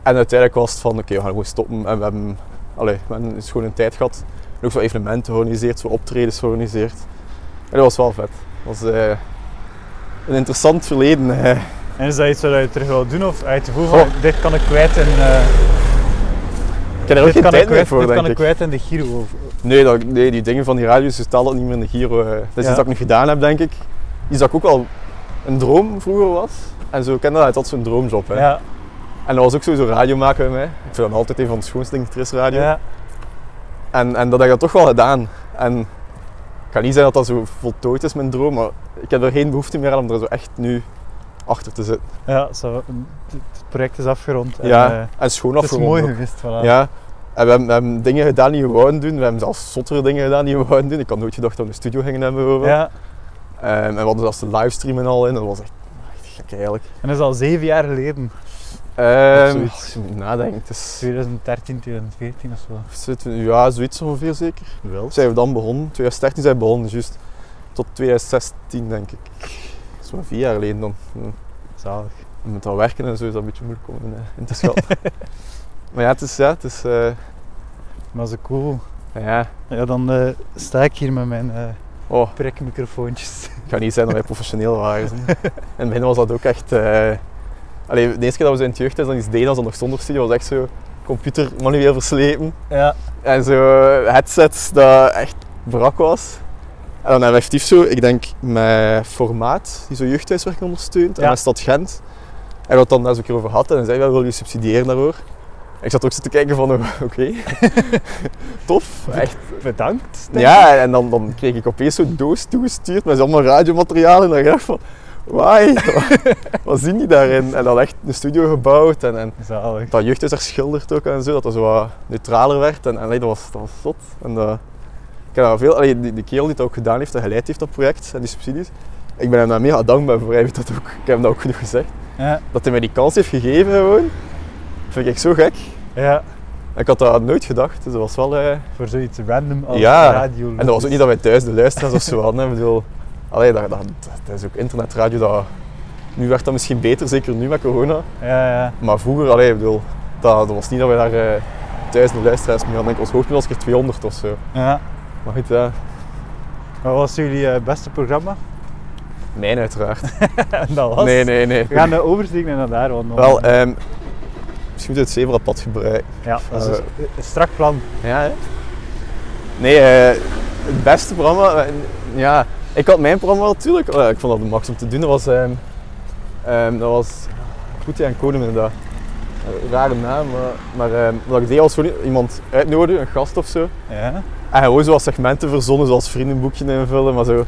Speaker 2: En uiteindelijk was het van, oké, we gaan gewoon stoppen. En we hebben, allee, we hebben een schone tijd gehad. En ook zo evenementen georganiseerd, zo optredens georganiseerd. En dat was wel vet. Dat was eh, een interessant verleden. eh.
Speaker 1: En is dat iets wat je terug wil doen? Of uit je gevoel van,
Speaker 2: van,
Speaker 1: dit kan ik kwijt en... eh,
Speaker 2: Ik heb er
Speaker 1: dit
Speaker 2: ook geen
Speaker 1: kan ik
Speaker 2: tijd meer
Speaker 1: kwijt,
Speaker 2: voor, denk
Speaker 1: kan ik
Speaker 2: ik.
Speaker 1: kwijt in de Giro.
Speaker 2: Nee, dat, nee, die dingen van die radios, je staat dat niet meer in de Giro. eh. Dat is
Speaker 1: Ja.
Speaker 2: iets dat ik nog gedaan heb, denk ik. Iets dat ik ook wel een droom vroeger was. En zo kende dat, het had zo'n droomjob. Hè.
Speaker 1: Ja,
Speaker 2: En dat was ook sowieso radio maken bij mij. Ik vind dat altijd een van de schoonste dingen, er is radio.
Speaker 1: ja,
Speaker 2: En, en dat heb ik dat toch wel gedaan. En ik kan niet zeggen dat dat zo voltooid is, mijn droom, maar ik heb er geen behoefte meer aan om er zo echt nu achter te zitten.
Speaker 1: ja zo, het project is afgerond. En,
Speaker 2: Ja,
Speaker 1: eh,
Speaker 2: En schoon
Speaker 1: het is
Speaker 2: afgerond
Speaker 1: mooi
Speaker 2: ook.
Speaker 1: geweest, voilà.
Speaker 2: Ja. En we hebben, we hebben dingen gedaan die we wouden doen. We hebben zelfs zottere dingen gedaan die we wouden doen. Ik had nooit gedacht dat we een studio gingen hebben bijvoorbeeld.
Speaker 1: Ja,
Speaker 2: Ehm, en we hadden zelfs de livestream en al in. Dat was echt, echt gek eigenlijk.
Speaker 1: en dat is al zeven jaar geleden.
Speaker 2: Ehm
Speaker 1: zoiets.
Speaker 2: als je moet nadenken, het is...
Speaker 1: 2013, 2014 of zo.
Speaker 2: Ja, zoiets ongeveer zeker.
Speaker 1: Wel.
Speaker 2: Zijn we dan begonnen? 2013 zijn we begonnen, juist. Tot 2016 denk ik. Dat is maar vier jaar geleden dan. Ja.
Speaker 1: Zalig.
Speaker 2: Je moet al werken en zo is dat een beetje moeilijk om in, eh, in te schatten. maar ja, het is... Ja, het is eh,
Speaker 1: Maar zo cool.
Speaker 2: ja.
Speaker 1: Ja, dan eh, sta ik hier met mijn eh
Speaker 2: Oh,
Speaker 1: prikmicrofoontjes.
Speaker 2: ik ga niet zeggen dat wij professioneel waren. hè. In het begin was dat ook echt... eh allee, de eerste keer dat we zo in het jeugdhuis dan iets deden, als dat nog zonder studie, was echt zo computer manueel verslepen.
Speaker 1: Ja,
Speaker 2: En zo eh, headsets dat echt brak was. En dan hebben we effectief zo, ik denk met Formaat, die zo jeugdhuiswerk ondersteunt,
Speaker 1: Ja.
Speaker 2: en met Stad Gent. En wat dan daar eens een keer over had, en dan zei wij wil je subsidiëren daaroor? Ik zat ook zo te kijken van, oh, oké, tof, echt.
Speaker 1: bedankt.
Speaker 2: Ja, en dan, dan kreeg ik opeens zo'n doos toegestuurd met allemaal radiomateriaal en dan dacht ik van, why, wat zien die daarin? En dan echt een studio gebouwd en, en
Speaker 1: Zalig.
Speaker 2: dat jeugd is er schilderd ook en zo, dat dat zo wat neutraler werd. En, en allee, dat, was, dat was zot. En, eh, ik heb daar veel, allee, die, die kerel die dat ook gedaan heeft, dat geleid heeft dat project en die subsidies. Ik ben hem daar mega dankbaar voor, hij heeft dat ook, ik heb hem dat ook genoeg gezegd.
Speaker 1: Ja,
Speaker 2: Dat hij mij die kans heeft gegeven gewoon, vind ik zo gek.
Speaker 1: ja,
Speaker 2: Ik had dat nooit gedacht, dus dat was wel... eh,
Speaker 1: voor zoiets random als
Speaker 2: Ja,
Speaker 1: radio.
Speaker 2: En dat was ook niet dat wij thuis de luisteraars of zo hadden, hè. ik bedoel... Allee, dat, dat, dat is ook internetradio, dat... Nu werd dat misschien beter, zeker nu met corona.
Speaker 1: Ja, ja.
Speaker 2: Maar vroeger, allee, ik bedoel, dat, dat was niet dat we daar eh, duizenden luisteraars mee hadden. Ik denk, Ons hoogtepunt was een keer 200 of zo.
Speaker 1: ja.
Speaker 2: Maar goed, ja,
Speaker 1: Wat was jullie eh, beste programma?
Speaker 2: mijn uiteraard.
Speaker 1: En dat was...
Speaker 2: Nee, nee, nee.
Speaker 1: We gaan eh, oversteken naar daar, want... dan-
Speaker 2: Wel, ehm misschien moet je het zebrapad gebruiken.
Speaker 1: ja, dat is dus een strak plan.
Speaker 2: Ja, hè? Nee, eh, het beste programma... eh, ja, ik had mijn programma natuurlijk... eh, ik vond dat de max om te doen. Dat was... ehm ehm, dat was... Goedie en Koning inderdaad. Eh, rare naam, maar... Maar ehm, wat ik deed was gewoon iemand uitnodigen, een gast of zo.
Speaker 1: Ja.
Speaker 2: En Ah, gewoon zoals segmenten verzonnen, zoals vriendenboekje invullen, maar zo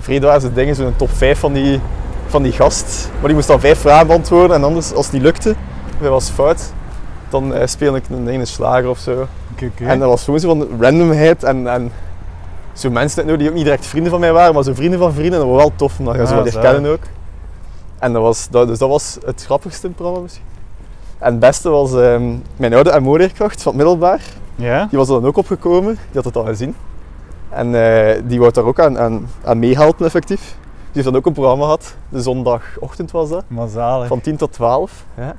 Speaker 2: vreedwaarse dingen, zo'n top 5 van die, van die gast. Maar die moest dan vijf vragen beantwoorden en anders, als die lukte, dat was fout, dan eh, speelde ik een, een slager of zo.
Speaker 1: Oké, oké.
Speaker 2: En dat was gewoon zo van randomheid en, en zo mensen uitnodigen die ook niet direct vrienden van mij waren, maar zo vrienden van vrienden, dat was wel tof, omdat je ze
Speaker 1: Ah,
Speaker 2: wel
Speaker 1: zo.
Speaker 2: herkennen ook. En dat was, dat, dus dat was het grappigste in het programma misschien. En het beste was ehm, mijn oude MO-leerkracht van het middelbaar.
Speaker 1: Ja?
Speaker 2: Die was er dan ook opgekomen, die had het al gezien. En eh, die wou daar ook aan, aan, aan meehelpen, effectief. Die heeft dan ook een programma gehad, de zondagochtend was dat,
Speaker 1: Maar zalig.
Speaker 2: van 10 tot 12. Ja.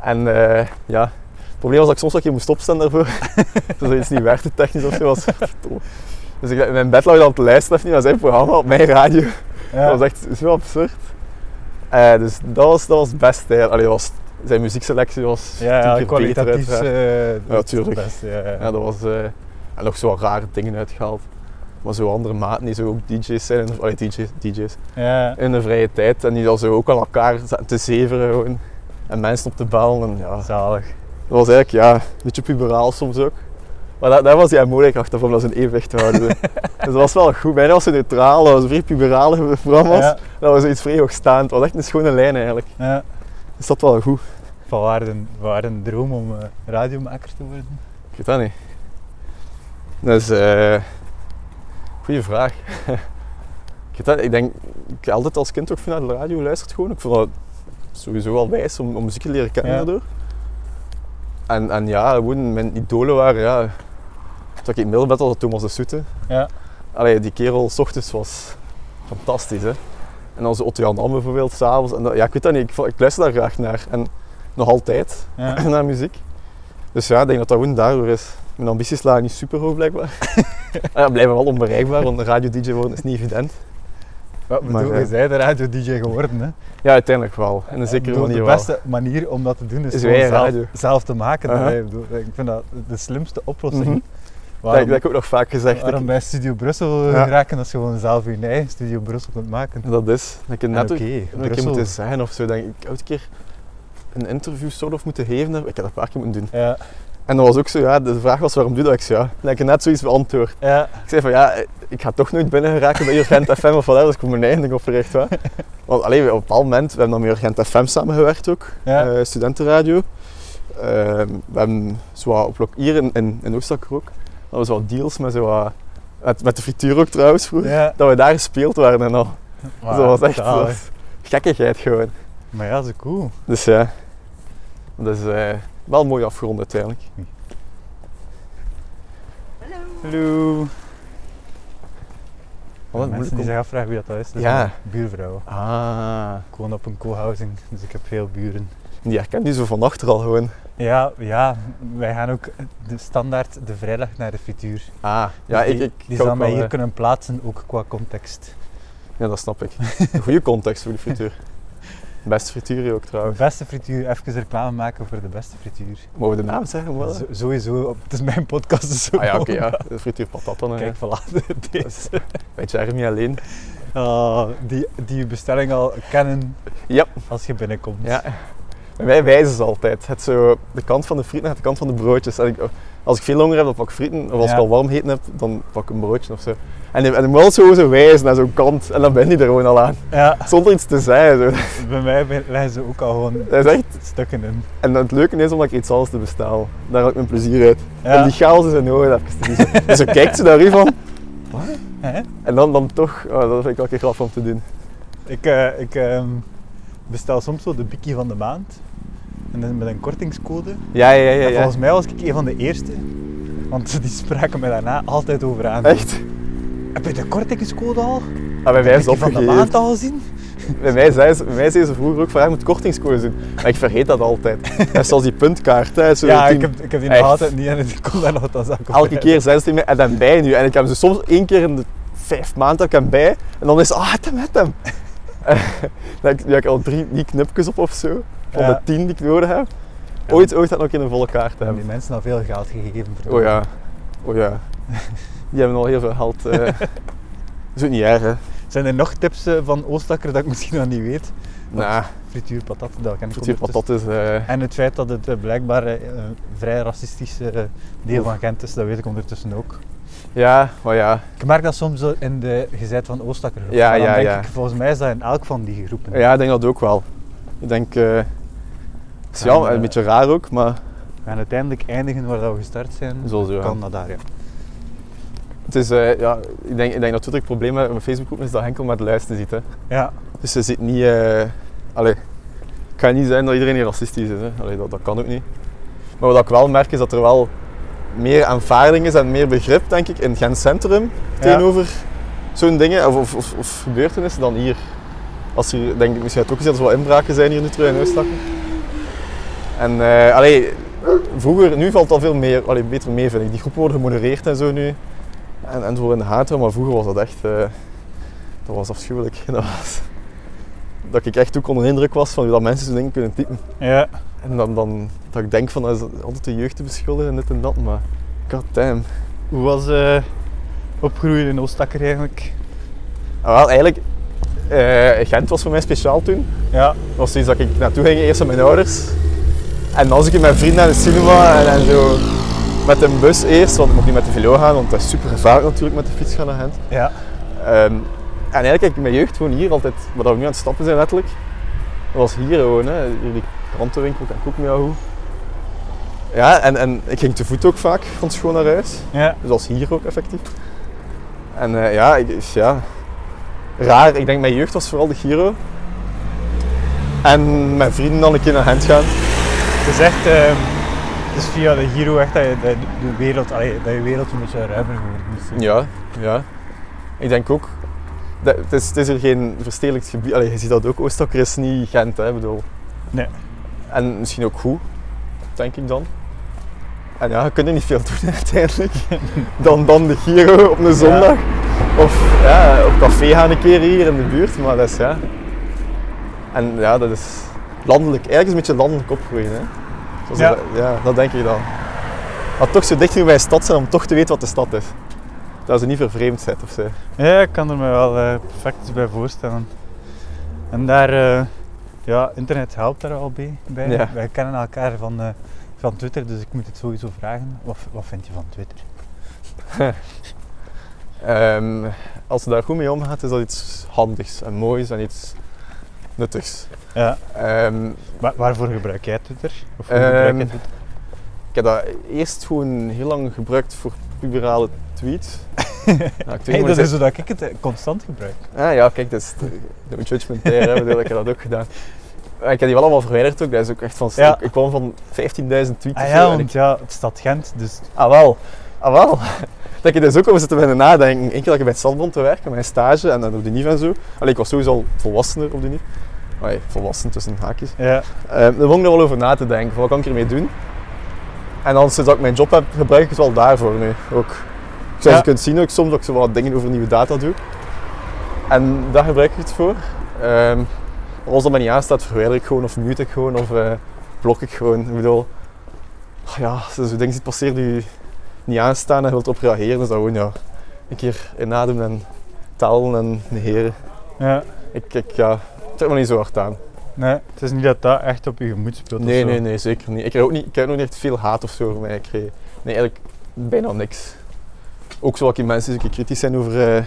Speaker 2: En eh, ja, het probleem was dat ik soms ook keer moest opstaan daarvoor. dus dat iets niet werkte technisch of zo. Was, verdomme. dus ik, in mijn bed lag ik dan te luisteren even naar zijn programma op mijn radio.
Speaker 1: Ja.
Speaker 2: Dat was echt zo absurd. Eh, dus dat was, dat was best. hè. Allee, dat was, zijn muziekselectie was
Speaker 1: ja,
Speaker 2: tien
Speaker 1: ja,
Speaker 2: keer
Speaker 1: kwalitatief.
Speaker 2: beter. uiteraard.
Speaker 1: eh, dat is het
Speaker 2: tuurlijk.
Speaker 1: beste, Ja, ja.
Speaker 2: Ja, dat was... eh, en nog zo wat rare dingen uitgehaald. Maar zo andere maten die zo ook DJ's zijn, in- allee, DJ's, DJ's,
Speaker 1: Ja.
Speaker 2: in de vrije tijd. En die dan zo ook aan elkaar zaten te zeveren gewoon. En mensen op te bellen. En ja, dat
Speaker 1: Zalig.
Speaker 2: was eigenlijk ja, een beetje puberaal soms ook. Maar daar, daar was die moeilijk achter om dat in evenwicht te houden. dus dat was wel goed. Bijna was het neutraal, dat was vrij puberale programma's.
Speaker 1: Ja,
Speaker 2: Dat was iets vrij hoogstaand. Dat was echt een schone lijn eigenlijk.
Speaker 1: ja.
Speaker 2: Dus dat wel goed.
Speaker 1: Van waar een, van waar een droom om eh, radiomaker te worden?
Speaker 2: Ik weet dat niet. Dat is eh goede vraag. ik, weet dat, niet. ik denk, ik heb altijd als kind ook veel naar de radio luisterd gewoon. Ik vond dat sowieso wel wijs om, om muziek te leren kennen
Speaker 1: Ja.
Speaker 2: daardoor. En, en ja, gewoon mijn idolen waren ja, dat ik in middelbed was, dat Thomas de Soete.
Speaker 1: Ja.
Speaker 2: Allee, die kerel, s ochtends was fantastisch, hè. En dan zo Otto Jan Am bijvoorbeeld, s'avonds. En dat- ja, ik weet dat niet, ik, vo- ik luister daar graag naar. En nog altijd,
Speaker 1: Ja.
Speaker 2: naar muziek. Dus ja, ik denk dat dat gewoon daardoor is. Mijn ambities lagen niet super hoog, blijkbaar. Ah ja, blijven wel onbereikbaar, want een radio-dj worden is niet evident.
Speaker 1: Wat
Speaker 2: Maar,
Speaker 1: bedoel,
Speaker 2: eh,
Speaker 1: je zij de radio DJ geworden, hè?
Speaker 2: Ja, uiteindelijk wel. In een zekere
Speaker 1: bedoel,
Speaker 2: manier
Speaker 1: De
Speaker 2: wel.
Speaker 1: beste manier om dat te doen is,
Speaker 2: Is
Speaker 1: gewoon
Speaker 2: wij
Speaker 1: zelf,
Speaker 2: radio.
Speaker 1: zelf te maken.
Speaker 2: Uh-huh.
Speaker 1: Ik bedoel, Ik vind dat de slimste oplossing.
Speaker 2: Mhm. Dat, heb
Speaker 1: Waarom,
Speaker 2: ik- dat heb ik ook nog vaak gezegd. Dat,
Speaker 1: waarom bij Studio Brussel
Speaker 2: Ja.
Speaker 1: raken als je gewoon zelf je eigen Studio Brussel kunt maken?
Speaker 2: ik- dat is. Dat ik
Speaker 1: En
Speaker 2: net ook
Speaker 1: Oké,
Speaker 2: een keer
Speaker 1: Brussel.
Speaker 2: moeten zeggen of zo. Denk ik, ik had een keer een interview sort of moeten geven. Ik heb dat een paar keer moeten doen.
Speaker 1: Ja,
Speaker 2: En dan was ook zo, ja, de vraag was waarom doe je dat? Ik zei, ja, dan heb ik net zoiets beantwoord.
Speaker 1: ja,
Speaker 2: Ik zei van ja, ik ga toch nooit binnen geraken bij Urgent FM of wat dus ik moet mijn eigen ding opgericht. Hè. Want alleen op een bepaald moment, we hebben dan met Urgent FM samengewerkt ook,
Speaker 1: Ja.
Speaker 2: eh, studentenradio. Ehm, we hebben zo wat op, lo- hier in, in, in Oostakker ook, dat we zo wat deals met, zo wat, met, met de frituur ook trouwens vroeger.
Speaker 1: ja.
Speaker 2: Dat we daar gespeeld waren en al. Dus
Speaker 1: Maar,
Speaker 2: dat was echt dat
Speaker 1: zalig.
Speaker 2: was gekkigheid gewoon.
Speaker 1: Maar ja, zo cool.
Speaker 2: Dus ja, dat is eh, wel mooi afgerond uiteindelijk.
Speaker 1: Hallo.
Speaker 2: Wat
Speaker 1: mensen
Speaker 2: een moeilijk
Speaker 1: die
Speaker 2: om-
Speaker 1: zich afvragen wie dat is, dat
Speaker 2: Ja.
Speaker 1: is mijn buurvrouw.
Speaker 2: Ah,
Speaker 1: Ik woon op een co-housing, dus ik heb veel buren.
Speaker 2: die herkent die zo van achter al gewoon.
Speaker 1: Ja, ja, wij gaan ook de standaard de vrijdag naar de frituur.
Speaker 2: Ah, ja,
Speaker 1: Dus
Speaker 2: ik,
Speaker 1: die,
Speaker 2: ik
Speaker 1: die
Speaker 2: ga
Speaker 1: zal
Speaker 2: ook
Speaker 1: mij
Speaker 2: wel,
Speaker 1: hier
Speaker 2: eh,
Speaker 1: kunnen plaatsen, ook qua context.
Speaker 2: Ja, dat snap ik. Een goede context voor de frituur. Beste frituur hier ook
Speaker 1: De
Speaker 2: trouwens.
Speaker 1: beste frituur, even reclame maken voor de beste frituur.
Speaker 2: Mogen we de naam zeggen? Wel?
Speaker 1: Zo- sowieso, op- het is mijn podcast, dus
Speaker 2: Ah ja, oké,
Speaker 1: gewoon-
Speaker 2: ja. De frituur patat dan.
Speaker 1: Kijk,
Speaker 2: Kijk.
Speaker 1: voilà, deze.
Speaker 2: Weet je, niet alleen.
Speaker 1: Ah, die, die je bestelling al kennen
Speaker 2: Ja.
Speaker 1: als je binnenkomt.
Speaker 2: Ja. Bij mij wijzen ze altijd. Het zo de kant van de frieten en de kant van de broodjes. En ik, als ik veel honger heb, dan pak ik frieten. Of als
Speaker 1: Ja.
Speaker 2: ik al warm heten heb, dan pak ik een broodje of zo. En die- en ik moet wel zo, zo wijzen naar zo'n kant. En dan ben je er gewoon al aan.
Speaker 1: Ja,
Speaker 2: Zonder iets te zeggen. Zo.
Speaker 1: bij mij be- leggen ze ook al gewoon
Speaker 2: Dat is echt...
Speaker 1: stukken in.
Speaker 2: En het leuke is omdat ik iets anders te bestel. Daar haal ik mijn plezier uit.
Speaker 1: Ja.
Speaker 2: En die chaos is in ogen even te kiezen. En zo Dus kijkt ze daar u van.
Speaker 1: Hè?
Speaker 2: En dan, dan toch, oh, dat vind ik wel een keer grappig om te doen.
Speaker 1: Ik, eh, ik ehm, bestel soms zo de bikkie van de maand. En dan met een kortingscode.
Speaker 2: Ja, ja, ja.
Speaker 1: En
Speaker 2: ja.
Speaker 1: volgens mij was ik een van de eerste. Want die spraken mij daarna altijd over aan.
Speaker 2: Echt?
Speaker 1: Heb je de kortingscode al?
Speaker 2: Ah, bij mij
Speaker 1: Heb
Speaker 2: is
Speaker 1: je
Speaker 2: het
Speaker 1: van de
Speaker 2: opgegeven.
Speaker 1: maand al gezien?
Speaker 2: Bij mij zei ze, bij mij zei ze vroeger ook van, ja, je moet kortingscodes doen. Maar ik vergeet dat altijd. Dat is zoals die puntkaart. Hè, zo
Speaker 1: Ja,
Speaker 2: tien-
Speaker 1: ik heb, ik heb die
Speaker 2: Echt.
Speaker 1: nog altijd niet en ik kom daar nog altijd aan
Speaker 2: Elke keer zijn ze tegen mij, en dan bij nu. En ik heb ze soms één keer in de vijf maanden heb ik hem bij. En dan is het, ah, het hem, het hem. dan heb ik- ja, ik al drie die knipjes op of zo. Van
Speaker 1: Ja.
Speaker 2: de tien die ik nodig heb. Ooit, ooit dat nog in een volle kaart
Speaker 1: hebben
Speaker 2: hebben.
Speaker 1: die mensen al veel geld gegeven. voor
Speaker 2: Oh ja, oh ja. Die hebben al heel veel geld. eh. Dat is ook niet erg, hè?
Speaker 1: Zijn er nog tips eh, van Oostakker dat ik misschien nog niet weet?
Speaker 2: Nou,
Speaker 1: Frituur patat, dat ken ik
Speaker 2: frituur
Speaker 1: ondertussen.
Speaker 2: patat is. eh,
Speaker 1: En het feit dat het eh, blijkbaar eh, een vrij racistisch eh, deel van Gent is, dat weet ik ondertussen ook.
Speaker 2: ja, maar ja.
Speaker 1: Ik merk dat soms zo in de gezet van Oostakker. groep.
Speaker 2: Ja,
Speaker 1: Maar dan
Speaker 2: ja,
Speaker 1: denk
Speaker 2: ja.
Speaker 1: Ik, volgens mij is dat in elk van die groepen.
Speaker 2: ja, ik denk dat ook wel. Ik denk. eh het is
Speaker 1: Ja,
Speaker 2: jammer,
Speaker 1: eh,
Speaker 2: een beetje raar ook, maar
Speaker 1: We gaan uiteindelijk eindigen waar dat we gestart zijn.
Speaker 2: Zo, zo, ja.
Speaker 1: Canada, ja.
Speaker 2: het is, eh, ja, ik, denk, ik denk dat Twitter het probleem met mijn Facebookgroep is dat Henkel maar het luisteren ziet. Hè.
Speaker 1: Ja,
Speaker 2: Dus ze zit niet. eh, allee, het kan niet zijn dat iedereen hier racistisch is. Hè. Allee, dat, dat kan ook niet. Maar wat ik wel merk is dat er wel meer aanvaarding is en meer begrip, denk ik, in Gent Centrum tegenover zo'n dingen of, of, of, of gebeurtenissen dan hier. Als hier, denk ik, misschien heb je het ook gezien dat er wel inbraken zijn hier nu terug in Oostakken. En eh, allee, vroeger, nu valt dat veel meer, allee, beter mee vind ik. Die groepen worden gemodereerd en zo nu. En, en voor in de haat, maar vroeger was dat echt, eh, dat was afschuwelijk. Dat, was, dat ik echt ook onder de indruk was van hoe dat mensen zo'n dingen kunnen typen.
Speaker 1: ja.
Speaker 2: En dan, dan dat ik denk van, dat is altijd de jeugd te beschuldigen en dit en dat, maar god damn.
Speaker 1: Hoe was eh, opgroeien in Oostakker eigenlijk?
Speaker 2: Ah, wel, eigenlijk, eh, Gent was voor mij speciaal toen.
Speaker 1: Ja,
Speaker 2: Dat was iets dat ik naartoe ging, eerst met mijn ouders. En dan zat ik met mijn vrienden naar de cinema en, en zo met een bus eerst, want ik mocht niet met de velo gaan, want dat is super gevaarlijk natuurlijk met de fiets gaan naar Gent.
Speaker 1: ja.
Speaker 2: Ehm, en eigenlijk heb ik mijn jeugd gewoon hier altijd, wat we nu aan het stappen zijn letterlijk, dat was hier gewoon, hè. hier die krantenwinkel, kan ik ook mee hoe. Ja, en, en ik ging te voet ook vaak van school naar huis.
Speaker 1: ja.
Speaker 2: Dus dat is hier ook effectief. En eh, ja, ik, is- ja, raar. Ik denk mijn jeugd was vooral de Giro. En mijn vrienden dan een keer naar Gent gaan.
Speaker 1: Het is echt ehm, Het is via de Giro echt dat je dat je de wereld, allee, dat je wereld een beetje ruimer geworden is. hè.
Speaker 2: Ja, ja. Ik denk ook. Dat, het, is, het is er geen verstedelijkt gebied. Allee, je ziet dat ook. Oostakker is niet Gent, hè, ik bedoel.
Speaker 1: Nee.
Speaker 2: En misschien ook goed, denk ik dan. En ja, je kunt er niet veel doen uiteindelijk. Dan, dan de Giro op een zondag. Of ja, op café gaan een keer hier in de buurt. Maar dat is ja. En ja, dat is landelijk. Eigenlijk is het een beetje landelijk opgroeien. Hè. Zoals
Speaker 1: Ja.
Speaker 2: Dat, ja, dat denk ik dan. Maar toch zo dicht nu bij een stad zijn om toch te weten wat de stad is. Dat ze niet vervreemd zijn of zo.
Speaker 1: Ja, ik kan er me wel eh, perfect bij voorstellen. En daar, eh, ja, internet helpt daar al bij. bij.
Speaker 2: Ja.
Speaker 1: Wij kennen elkaar van, eh, van Twitter, dus ik moet het sowieso vragen. Wat, wat vind je van Twitter?
Speaker 2: Ehm, als ze daar goed mee omgaat, is dat iets handigs en moois en iets nuttigs.
Speaker 1: Ja.
Speaker 2: Ehm,
Speaker 1: Wa- waarvoor gebruik jij Twitter? Of hoe
Speaker 2: Ehm,
Speaker 1: gebruik jij Twitter?
Speaker 2: ik heb dat eerst gewoon heel lang gebruikt voor puberale tweets. Ja, ik weet niet
Speaker 1: Hey,
Speaker 2: hoe
Speaker 1: dat
Speaker 2: het-
Speaker 1: is zodat ik het eh, constant gebruik.
Speaker 2: Ah ja, kijk, dat is don't judgment there, hè. Ik bedoel, ik heb dat ook gedaan. Maar Ik heb die wel allemaal verwijderd ook, dat is ook echt van...
Speaker 1: Ja.
Speaker 2: Ik, ik kwam van 15.000 tweets
Speaker 1: Ah
Speaker 2: of
Speaker 1: ja,
Speaker 2: zo en ik-
Speaker 1: want ja, het staat Gent, dus
Speaker 2: Ah wel, ah wel. Dat je dus ook over zitten bij de nadenken. Eén keer dat ik bij het Zandbond te werken, mijn stage en dan op de NIF en zo. Allee, ik was sowieso al volwassener op de NIF. Allee, volwassen tussen haakjes.
Speaker 1: ja.
Speaker 2: Eh, dan begon ik er wel over na te denken, van wat kan ik ermee doen? En dan sinds dat ik mijn job heb, gebruik ik het wel daarvoor nu ook.
Speaker 1: Ja.
Speaker 2: Zoals je kunt zien ook soms dat ik zo wat dingen over nieuwe data doe. En daar gebruik ik het voor. Ehm, maar als dat mij niet aanstaat, verwijder ik gewoon of mute ik gewoon of eh, blok ik gewoon. Ik bedoel, ah ja, als je zo'n ding ziet passeren die je niet aanstaan en wilt op reageren, is dat gewoon ja, een keer inademen en talen en negeren.
Speaker 1: ja.
Speaker 2: Ik, ik ja, trek me niet zo hard aan.
Speaker 1: Nee, het is niet dat dat echt op je gemoed speelt
Speaker 2: Nee,
Speaker 1: of zo.
Speaker 2: nee, nee, zeker niet. Ik heb ook niet, ik heb ook niet echt veel haat of zo over mij gekregen. Nee, eigenlijk bijna niks. Ook zo wat die mensen die een keer kritisch zijn over, eh,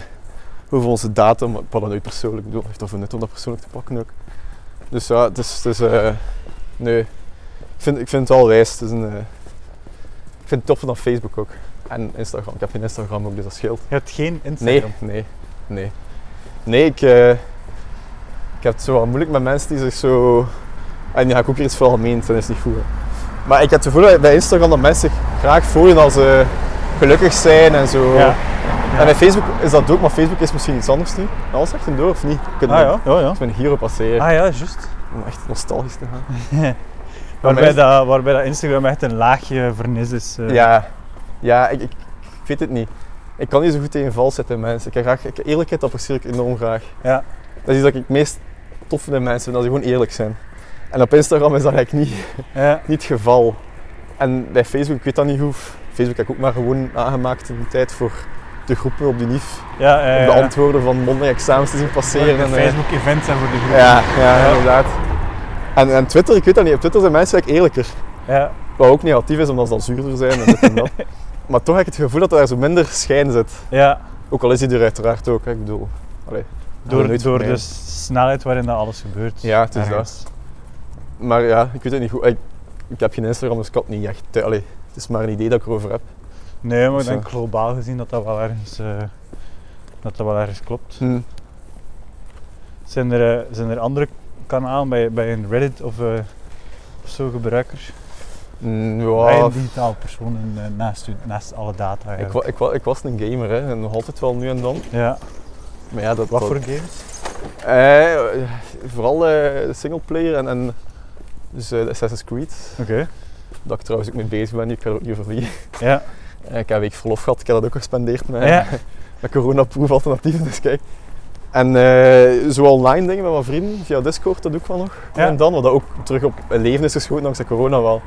Speaker 2: over onze data, maar ik had dat nooit persoonlijk. Ik bedoel, het heeft dat voor net om dat persoonlijk te pakken ook. Dus ja, het is, het is, eh, nee, ik vind, ik vind het wel wijs. Het is een, eh, ik vind het toffer dan Facebook ook. En Instagram. Ik heb geen Instagram ook, dus dat scheelt.
Speaker 1: Je hebt geen Instagram.
Speaker 2: Nee, nee, nee. Nee, ik, eh, ik heb het zo wat moeilijk met mensen die zich zo... En ja, ik ook hier iets veralgemeend, dat is niet goed. hè. Maar ik heb het gevoel dat bij Instagram dat mensen zich graag voelen als ze gelukkig zijn en zo.
Speaker 1: Ja.
Speaker 2: En bij Facebook is dat ook, maar Facebook is misschien iets anders nu. Alles echt een door, of niet? Ik
Speaker 1: Ah ja, ja, ja.
Speaker 2: Ik ben hier op passeren,
Speaker 1: Ah ja, juist.
Speaker 2: om echt nostalgisch te gaan.
Speaker 1: Waarbij
Speaker 2: mensen-
Speaker 1: dat, waarbij dat Instagram echt een laagje vernis is. eh.
Speaker 2: Ja, ja ik, ik, ik weet het niet. Ik kan niet zo goed tegen vals zetten mensen. Ik heb graag, ik, eerlijkheid apprecieer ik enorm graag.
Speaker 1: Ja.
Speaker 2: Dat is iets dat ik het meest tof vind in mensen, vind, dat ze gewoon eerlijk zijn. En op Instagram is dat eigenlijk niet,
Speaker 1: ja.
Speaker 2: niet het geval. En bij Facebook, ik weet dat niet hoe. Facebook heb ik ook maar gewoon aangemaakt in de tijd voor de groepen op de NIF.
Speaker 1: Ja, ja,
Speaker 2: Om
Speaker 1: ja.
Speaker 2: de antwoorden van mondeling examens te zien passeren.
Speaker 1: Voor de
Speaker 2: en, eh,
Speaker 1: Facebook-events en voor de groep.
Speaker 2: ja, ja, inderdaad. En, en Twitter, ik weet dat niet. Op Twitter zijn mensen eigenlijk eerlijker.
Speaker 1: Ja.
Speaker 2: Wat ook negatief is, omdat ze dan zuurder zijn en dit en dat. maar toch heb ik het gevoel dat daar zo minder schijn zit.
Speaker 1: ja.
Speaker 2: Ook al is die er uiteraard ook, hè. ik bedoel. Allee,
Speaker 1: Door,
Speaker 2: nooit
Speaker 1: door de
Speaker 2: vermijden.
Speaker 1: snelheid waarin dat alles gebeurt.
Speaker 2: Ja, het is
Speaker 1: Ergens.
Speaker 2: Maar ja, ik weet het niet goed. Ik, ik heb geen Instagram, dus ik kan het niet echt... eh, Allee, het is maar een idee dat ik erover heb.
Speaker 1: Nee, maar ik
Speaker 2: Dus ja.
Speaker 1: denk globaal gezien dat dat wel ergens, eh, dat dat wel ergens klopt. Zijn er, eh, zijn er andere kanalen bij, bij een Reddit of, eh, of zo gebruikers?
Speaker 2: Mm,
Speaker 1: Bij
Speaker 2: ja,
Speaker 1: een digitaal persoon in, eh, naast, u- naast alle data
Speaker 2: ik,
Speaker 1: eigenlijk.
Speaker 2: wa- ik, wa- ik was een gamer, hè. En nog altijd wel nu en dan.
Speaker 1: ja.
Speaker 2: Maar ja, dat...
Speaker 1: Wat
Speaker 2: dat-
Speaker 1: voor games?
Speaker 2: Eh, vooral eh singleplayer en... en dus eh, Assassin's Creed,
Speaker 1: Oké.
Speaker 2: dat ik trouwens ook mee bezig ben, ik kan er ook niet over liegen.
Speaker 1: Ja.
Speaker 2: Eh, Ik heb een week verlof gehad, ik heb dat ook gespendeerd met,
Speaker 1: Ja.
Speaker 2: met coronaproof alternatief, dus kijk. En eh zo online dingen met mijn vrienden, via Discord, dat doe ik wel nog.
Speaker 1: Ja.
Speaker 2: En dan, wat dat ook terug op het leven is geschoten dankzij corona wel.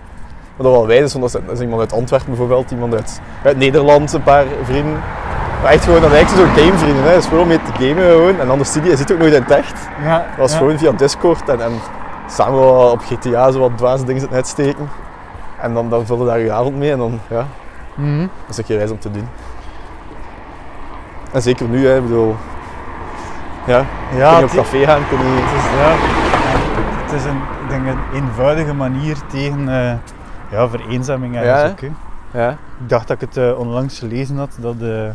Speaker 2: Wat dat wel wijs is, want dat is, dat is iemand uit Antwerpen bijvoorbeeld, iemand uit, uit Nederland, een paar vrienden. Maar echt gewoon, dat zijn eigenlijk zo'n gamevrienden, hè. Dat is gewoon om mee te gamen gewoon. En dan de studie, je ziet ook nooit in het echt.
Speaker 1: ja.
Speaker 2: Dat was
Speaker 1: ja.
Speaker 2: gewoon via Discord en, en samen wat op GTA zo wat dwaze dingen zitten uitsteken. En dan, dan vulde daar je avond mee en dan, ja,
Speaker 1: Mhm.
Speaker 2: dat is een keer reis om te doen. En zeker nu, hè, ik bedoel. Ja, kun
Speaker 1: Ja,
Speaker 2: je op
Speaker 1: het,
Speaker 2: café gaan, kun je...
Speaker 1: Het is, ja, het is een, ik denk een eenvoudige manier tegen eh, ja, vereenzaming
Speaker 2: Ja, hè?
Speaker 1: eigenlijk. ook, hè.
Speaker 2: Ja,
Speaker 1: ik dacht dat ik het eh, onlangs gelezen had, dat eh,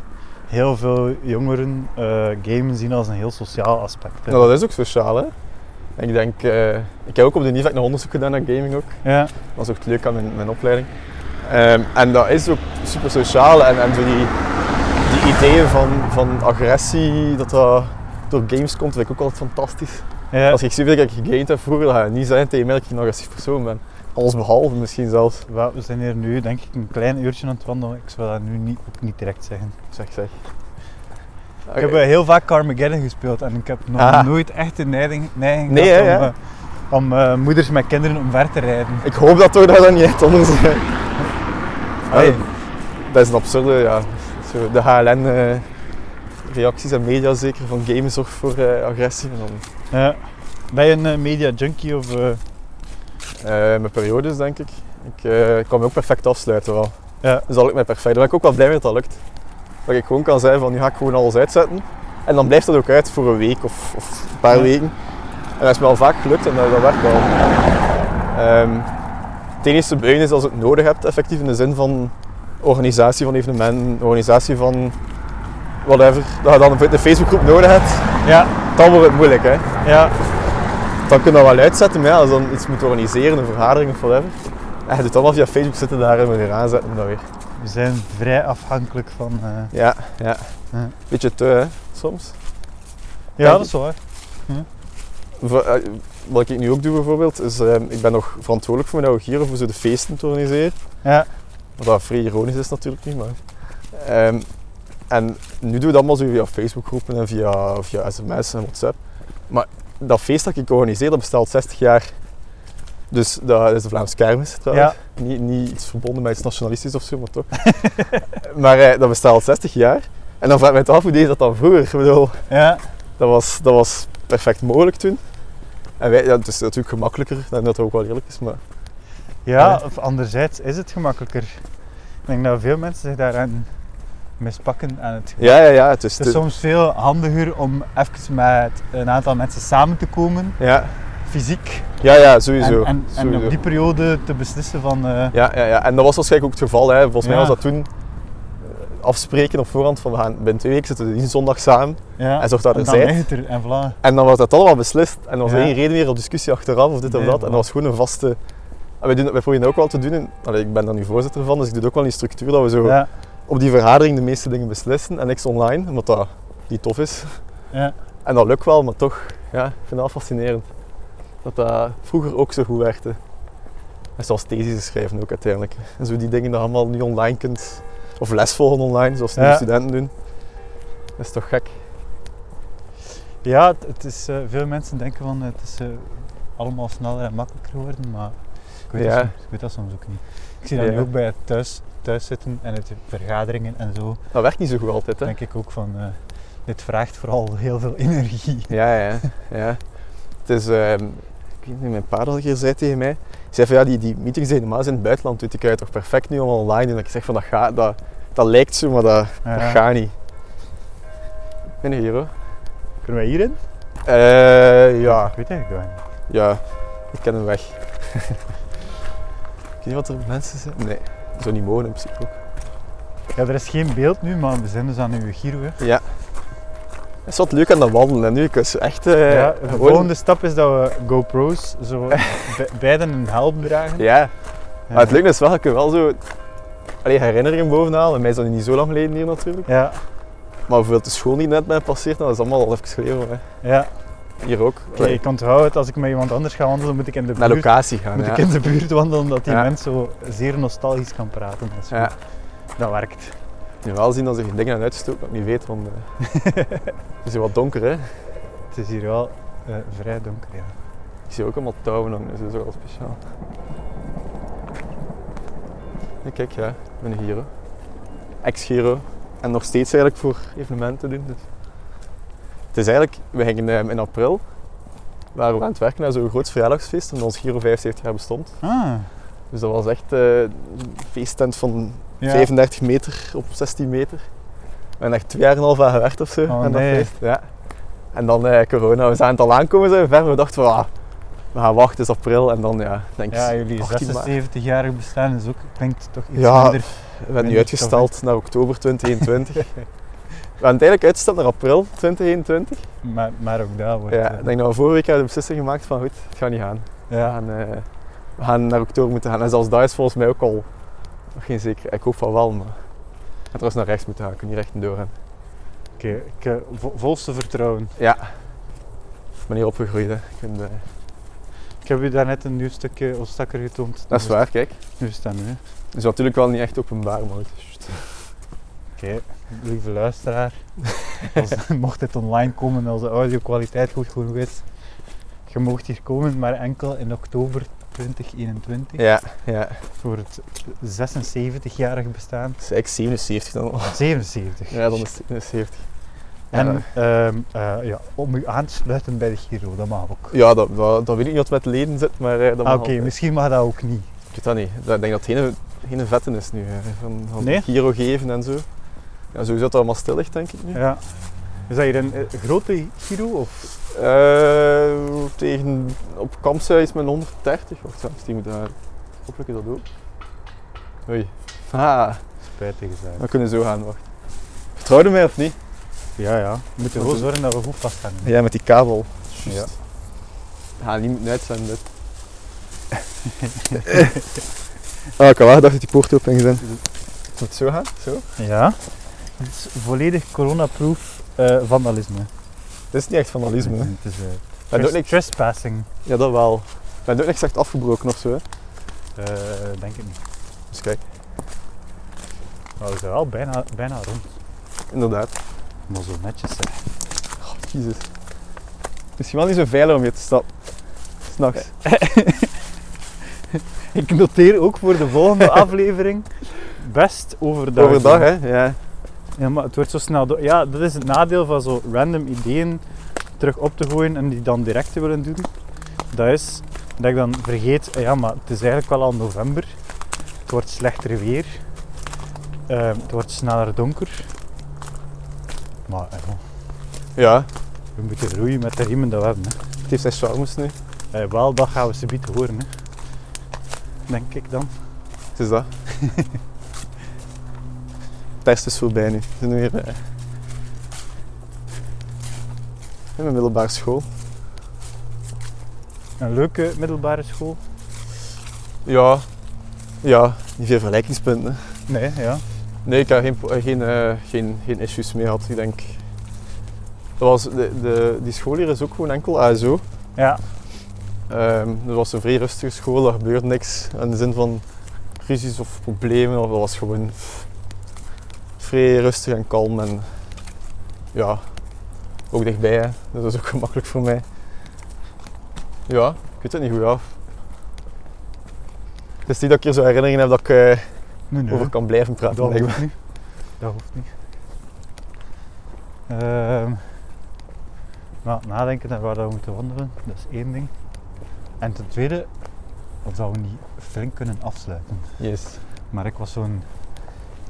Speaker 1: heel veel jongeren eh gamen zien als een heel sociaal aspect. hè.
Speaker 2: nou, dat is ook sociaal, hè. Ik denk, eh, ik heb ook op de NIVAC nog onderzoek gedaan naar gaming ook.
Speaker 1: Ja,
Speaker 2: Dat was ook leuk aan mijn, mijn opleiding. Ehm, en dat is ook super sociaal en, en zo die, die ideeën van, van agressie, dat dat door games komt, vind ik ook altijd fantastisch.
Speaker 1: Ja.
Speaker 2: Als ik zie dat ik gegamed heb vroeger, dan ga je niet zeggen tegen mij dat ik een agressief persoon ben. Alles behalve misschien zelfs.
Speaker 1: Wel, We zijn hier nu denk ik een klein uurtje aan het wandelen. Ik zou dat nu niet, ook niet direct zeggen.
Speaker 2: Zeg, zeg.
Speaker 1: Ik heb eh, heel vaak Carmageddon gespeeld en ik heb nog
Speaker 2: Ah.
Speaker 1: nooit echt de neiging, neiging
Speaker 2: Nee,
Speaker 1: gehad
Speaker 2: hè,
Speaker 1: om,
Speaker 2: ja.
Speaker 1: eh, om eh, moeders met kinderen omver te rijden.
Speaker 2: Ik hoop dat toch dat dat niet echt anders is. Oh.
Speaker 1: Allee.
Speaker 2: Dat is een absurde, ja. Zo, de HLN-reacties eh, en media zeker van gamen zorgt voor eh, agressie. En dan,
Speaker 1: Ja. ben je een eh, media junkie of... eh,
Speaker 2: eh, mijn periodes, denk ik. Ik eh, kan me ook perfect afsluiten wel.
Speaker 1: Ja.
Speaker 2: Dus dat lukt mij perfect. Daar ben ik ook wel blij mee dat dat lukt. Dat ik gewoon kan zeggen van, nu ga ik gewoon alles uitzetten. En dan blijft dat ook uit voor een week of, of een paar
Speaker 1: Ja.
Speaker 2: weken. En dat is me al vaak gelukt en dat, dat werkt wel. Ehm het enige te buien is als je het nodig hebt, effectief in de zin van organisatie van evenementen, organisatie van whatever, dat je dan de Facebookgroep nodig hebt,
Speaker 1: ja,
Speaker 2: dan wordt het moeilijk. Hè?
Speaker 1: ja,
Speaker 2: Dan kun je dat wel uitzetten, maar ja, als je dan iets moet organiseren, een vergadering of whatever, en je doet dan wel via Facebook zitten daar en weer aanzetten dan weer.
Speaker 1: we zijn vrij afhankelijk van... eh,
Speaker 2: Ja, ja.
Speaker 1: Ja.
Speaker 2: Beetje te, hè, soms.
Speaker 1: Ja, dat is waar.
Speaker 2: V- eh, Wat ik nu ook doe bijvoorbeeld, is ehm, ik ben nog verantwoordelijk voor mijn oude gieren, voor zo de feesten te organiseren.
Speaker 1: Ja.
Speaker 2: Wat dat vrij ironisch is natuurlijk niet, maar... Ehm, en nu doen we dat allemaal zo via Facebookgroepen en via, via sms en whatsapp. Maar dat feest dat ik organiseer, dat bestaat 60 jaar. Dus dat is de Vlaamse kermis trouwens. Niet, niet iets verbonden met iets nationalistisch of zo, maar toch. maar eh, dat bestaat al 60 jaar. En dan vraag ik me toch af, hoe deed je dat dan vroeger? Ik bedoel,
Speaker 1: Ja,
Speaker 2: dat was, dat was perfect mogelijk toen. En wij, ja, het is natuurlijk gemakkelijker, ik denk dat dat ook wel eerlijk is, maar
Speaker 1: ja
Speaker 2: Ja.
Speaker 1: of anderzijds is het gemakkelijker. Ik denk dat veel mensen zich daaraan mispakken aan het
Speaker 2: ja, ja, ja, het is...
Speaker 1: Het is
Speaker 2: te-
Speaker 1: soms veel handiger om even met een aantal mensen samen te komen,
Speaker 2: ja,
Speaker 1: fysiek.
Speaker 2: ja, ja, sowieso.
Speaker 1: en, en, en
Speaker 2: sowieso.
Speaker 1: op die periode te beslissen van. eh,
Speaker 2: Ja, ja, ja, en dat was waarschijnlijk ook het geval. Hè. Volgens mij
Speaker 1: Ja.
Speaker 2: was dat toen eh, afspreken op voorhand van we gaan binnen twee weken zitten die zondag samen
Speaker 1: ja,
Speaker 2: en zorg dat
Speaker 1: en
Speaker 2: er
Speaker 1: dan
Speaker 2: zijn.
Speaker 1: ligt het er en voilà.
Speaker 2: En dan was dat allemaal beslist en er was
Speaker 1: Ja.
Speaker 2: geen reden meer op discussie achteraf of dit
Speaker 1: Nee,
Speaker 2: of dat. En
Speaker 1: voilà.
Speaker 2: dat was gewoon een vaste... En wij, doen, dat- wij proberen dat ook wel te doen. En, allee, ik ben daar nu voorzitter van, dus ik doe dat ook wel in structuur dat we zo
Speaker 1: Ja,
Speaker 2: op die vergadering de meeste dingen beslissen en niks online, omdat dat niet tof is.
Speaker 1: ja,
Speaker 2: En dat lukt wel, maar toch, ja, ik vind dat wel fascinerend. Dat dat vroeger ook zo goed werkte. En zoals theses schrijven ook uiteindelijk. En zo die dingen dat je allemaal nu online kunt, of les volgen online, zoals nu
Speaker 1: Ja.
Speaker 2: studenten doen. Dat is toch gek.
Speaker 1: ja het, het is, eh, veel mensen denken van het is eh, allemaal sneller en makkelijker geworden, maar ik weet,
Speaker 2: Ja.
Speaker 1: dat, soms, ik weet dat soms ook niet. Ik zie dat
Speaker 2: Ja.
Speaker 1: nu ook bij het thuis, thuis zitten en het vergaderingen en zo.
Speaker 2: Dat werkt niet zo goed altijd, hè?
Speaker 1: Denk ik ook van. eh, dit vraagt vooral heel veel energie.
Speaker 2: Ja, ja, ja. Het is, ehm, ik weet niet, mijn pa dat hier zei tegen mij. Hij zei van ja, die, die meetings die je normaal zijn in het buitenland, doet ik uit toch perfect nu allemaal online. En dat ik zeg van dat gaat, dat, dat lijkt zo, maar dat, dat
Speaker 1: Ja.
Speaker 2: gaat niet. Ben je hier hoor?
Speaker 1: Kunnen wij hierin?
Speaker 2: Eh, ja,
Speaker 1: Ik weet eigenlijk dat niet.
Speaker 2: ja, ik ken hem weg. ik weet niet wat er mensen zijn. Nee, dat zou niet mogen in principe ook.
Speaker 1: Ja, er is geen beeld nu, maar we zijn dus aan uw Giro. hè.
Speaker 2: Het is wat leuk aan dat wandelen hè, nu. Ik was echt. eh,
Speaker 1: ja, de
Speaker 2: gewoon-
Speaker 1: volgende stap is dat we GoPro's zo be- beiden een helm dragen.
Speaker 2: Ja, maar het leuke is wel, ik kan wel zo. Allee, herinneringen bovenaan. Bij mij is dat nu niet zo lang geleden hier natuurlijk.
Speaker 1: Ja,
Speaker 2: Maar bijvoorbeeld de school die net mij passeert, nou, dat is allemaal al even geleden. Hè.
Speaker 1: ja.
Speaker 2: Hier ook.
Speaker 1: Oké, ik onthoud het. Als ik met iemand anders ga wandelen, moet ik in de
Speaker 2: Naar
Speaker 1: buurt,
Speaker 2: locatie gaan.
Speaker 1: moet
Speaker 2: ja.
Speaker 1: ik in de buurt wandelen, dat die
Speaker 2: Ja.
Speaker 1: mens zo zeer nostalgisch kan praten. Dat, is
Speaker 2: Ja.
Speaker 1: goed. dat werkt.
Speaker 2: Nu wel zien dat ze dingen aan uitstoot, dat ik niet weet, want eh, het is hier wat donker hè.
Speaker 1: Het is hier wel eh, vrij donker, ja.
Speaker 2: Ik zie ook allemaal touwen hangen, dus dat is ook wel speciaal. Ja, kijk, ja, ik ben een Giro. Ex-Giro. En nog steeds eigenlijk voor evenementen doen. Dus. Het is eigenlijk, we gingen eh, in april, waren we aan het werken naar zo'n groot verjaardagsfeest, omdat ons Giro 75 jaar bestond.
Speaker 1: Ah,
Speaker 2: Dus dat was echt eh, een feesttent van
Speaker 1: ja.
Speaker 2: 35 meter op 16 meter. We hebben echt twee jaar en een half aan gewerkt of zo
Speaker 1: Oh,
Speaker 2: aan dat
Speaker 1: nee.
Speaker 2: feest. Ja. En dan eh, corona, we zagen het al aankomen zo ver. We dachten van, ah, we gaan wachten, het is april. En dan, ja, denk ik,
Speaker 1: Ja, jullie
Speaker 2: 18 maart.
Speaker 1: 76-jarig bestaan is ook, klinkt toch iets
Speaker 2: Ja.
Speaker 1: minder.
Speaker 2: we hebben nu
Speaker 1: Minder
Speaker 2: uitgesteld naar oktober 2021. we hebben het eigenlijk uitgesteld naar april 2021.
Speaker 1: Maar, maar ook daar wordt...
Speaker 2: Ja,
Speaker 1: eh,
Speaker 2: ik denk dat we vorige week hebben de beslissing gemaakt van, goed, het gaat niet gaan. We
Speaker 1: ja.
Speaker 2: gaan, eh, we gaan naar oktober moeten gaan. En zelfs daar is volgens mij ook al Nog geen zeker. Ik hoop van wel, maar... Ik ga trouwens naar rechts moeten gaan. Ik kan niet recht een deur in.
Speaker 1: Oké, ik, eh, vo- volste vertrouwen.
Speaker 2: Ik ben hier opgegroeid, hè. Ik vind, eh,
Speaker 1: Ik heb u daarnet een nieuw stukje Ostakker getoond. Dus
Speaker 2: Dat is waar, kijk.
Speaker 1: Nu staan we.
Speaker 2: Het is natuurlijk wel niet echt openbaar, maar... het is just-
Speaker 1: Oké, lieve luisteraar. Als, mocht dit online komen, als de audio-kwaliteit goed genoeg is, je mocht hier komen, maar enkel in oktober 2021.
Speaker 2: Ja, ja.
Speaker 1: Voor het 76-jarig bestaan.
Speaker 2: Het is eigenlijk 77 dan al.
Speaker 1: 77.
Speaker 2: Ja, dan is het- is 70.
Speaker 1: En
Speaker 2: Ja.
Speaker 1: ehm, eh, ja, om u aan te sluiten bij de Giro, dat mag ook.
Speaker 2: Ja, dat, dat, dat weet ik niet wat met leden zit, maar... eh, dat
Speaker 1: Ah,
Speaker 2: mag
Speaker 1: Oké,
Speaker 2: altijd.
Speaker 1: misschien mag dat ook niet.
Speaker 2: Ik weet dat niet. Dat- Ik denk dat het geen, geen vetten is nu. hè. Van, van
Speaker 1: Nee?
Speaker 2: Giro geven en zo. Ja, sowieso dat het allemaal stil ligt, denk ik nu.
Speaker 1: Ja. Is dat hier een eh, grote Giro? Of?
Speaker 2: Eh, tegen, op Kampsui is men 130. Wacht, zelfs die moet daar. Hopelijk is dat ook. Oei. Ah,
Speaker 1: Spijtig zijn.
Speaker 2: we kunnen zo gaan, wacht. Vertrouwde mij of niet?
Speaker 1: Ja, ja. We moeten wel
Speaker 2: Want-
Speaker 1: zorgen dat we goed vasthangen.
Speaker 2: Ja, met die kabel.
Speaker 1: Ja.
Speaker 2: Ga niet moeten uitzenden dit. ah, ik had wel gedacht dat die poort open ging zijn. Moet het zo gaan? Zo?
Speaker 1: Ja. Het is volledig coronaproof eh vandalisme.
Speaker 2: Dit is niet echt vandalisme. hè.
Speaker 1: Het is eh,
Speaker 2: Maar doe
Speaker 1: tres-
Speaker 2: niks.
Speaker 1: trespassing.
Speaker 2: Ja, dat wel. Maar het is ook niks echt afgebroken of zo. Hè.
Speaker 1: Eh, denk ik niet.
Speaker 2: Dus kijk,
Speaker 1: Maar we zijn wel bijna, bijna rond.
Speaker 2: inderdaad.
Speaker 1: Maar zo netjes zeg.
Speaker 2: Oh, Jezus. Misschien wel niet zo veilig om hier te stappen. S'nachts.
Speaker 1: Ik noteer ook voor de volgende aflevering. Best overdag.
Speaker 2: Overdag, hè? Ja.
Speaker 1: Ja, maar het wordt zo snel door. Ja, dat is het nadeel van zo random ideeën terug op te gooien en die dan direct te willen doen. Dat is dat ik dan vergeet, eh, ja, maar het is eigenlijk wel al november. Het wordt slechter weer. Ehm, het wordt sneller donker. Maar eh, bon,
Speaker 2: Ja,
Speaker 1: we moeten roeien met de riemen dat we hebben. Hè.
Speaker 2: het heeft zijn charmes nu.
Speaker 1: Eh, wel, dat gaan we subiet horen. Hè. Denk ik dan.
Speaker 2: Het is dat. Test is voorbij nu. We zijn weer eh, in mijn middelbare school.
Speaker 1: Een leuke middelbare school?
Speaker 2: Ja. Ja, niet veel vergelijkingspunten. hè.
Speaker 1: Nee, ja.
Speaker 2: Nee, ik heb geen, pro- eh, geen, eh, geen, geen issues mee gehad. Ik denk. Dat was de, de, die school hier is ook gewoon enkel ASO.
Speaker 1: Ja,
Speaker 2: Ehm dat was een vrij rustige school, daar gebeurde niks in de zin van ruzies of problemen. Of dat was gewoon pff, vrij rustig en kalm en ja, ook dichtbij. Hè. Dus dat is ook gemakkelijk voor mij. Ja, ik weet het niet goed af. Het is niet dat ik hier zo herinneringen heb dat ik eh,
Speaker 1: nee, nee.
Speaker 2: over kan blijven praten.
Speaker 1: Dat
Speaker 2: blijkbaar.
Speaker 1: hoeft niet. Dat hoeft niet. Ehm, maar nadenken naar waar dat we moeten wandelen, dat is één ding. En ten tweede, of dat we niet flink kunnen afsluiten.
Speaker 2: Yes.
Speaker 1: Maar ik was zo'n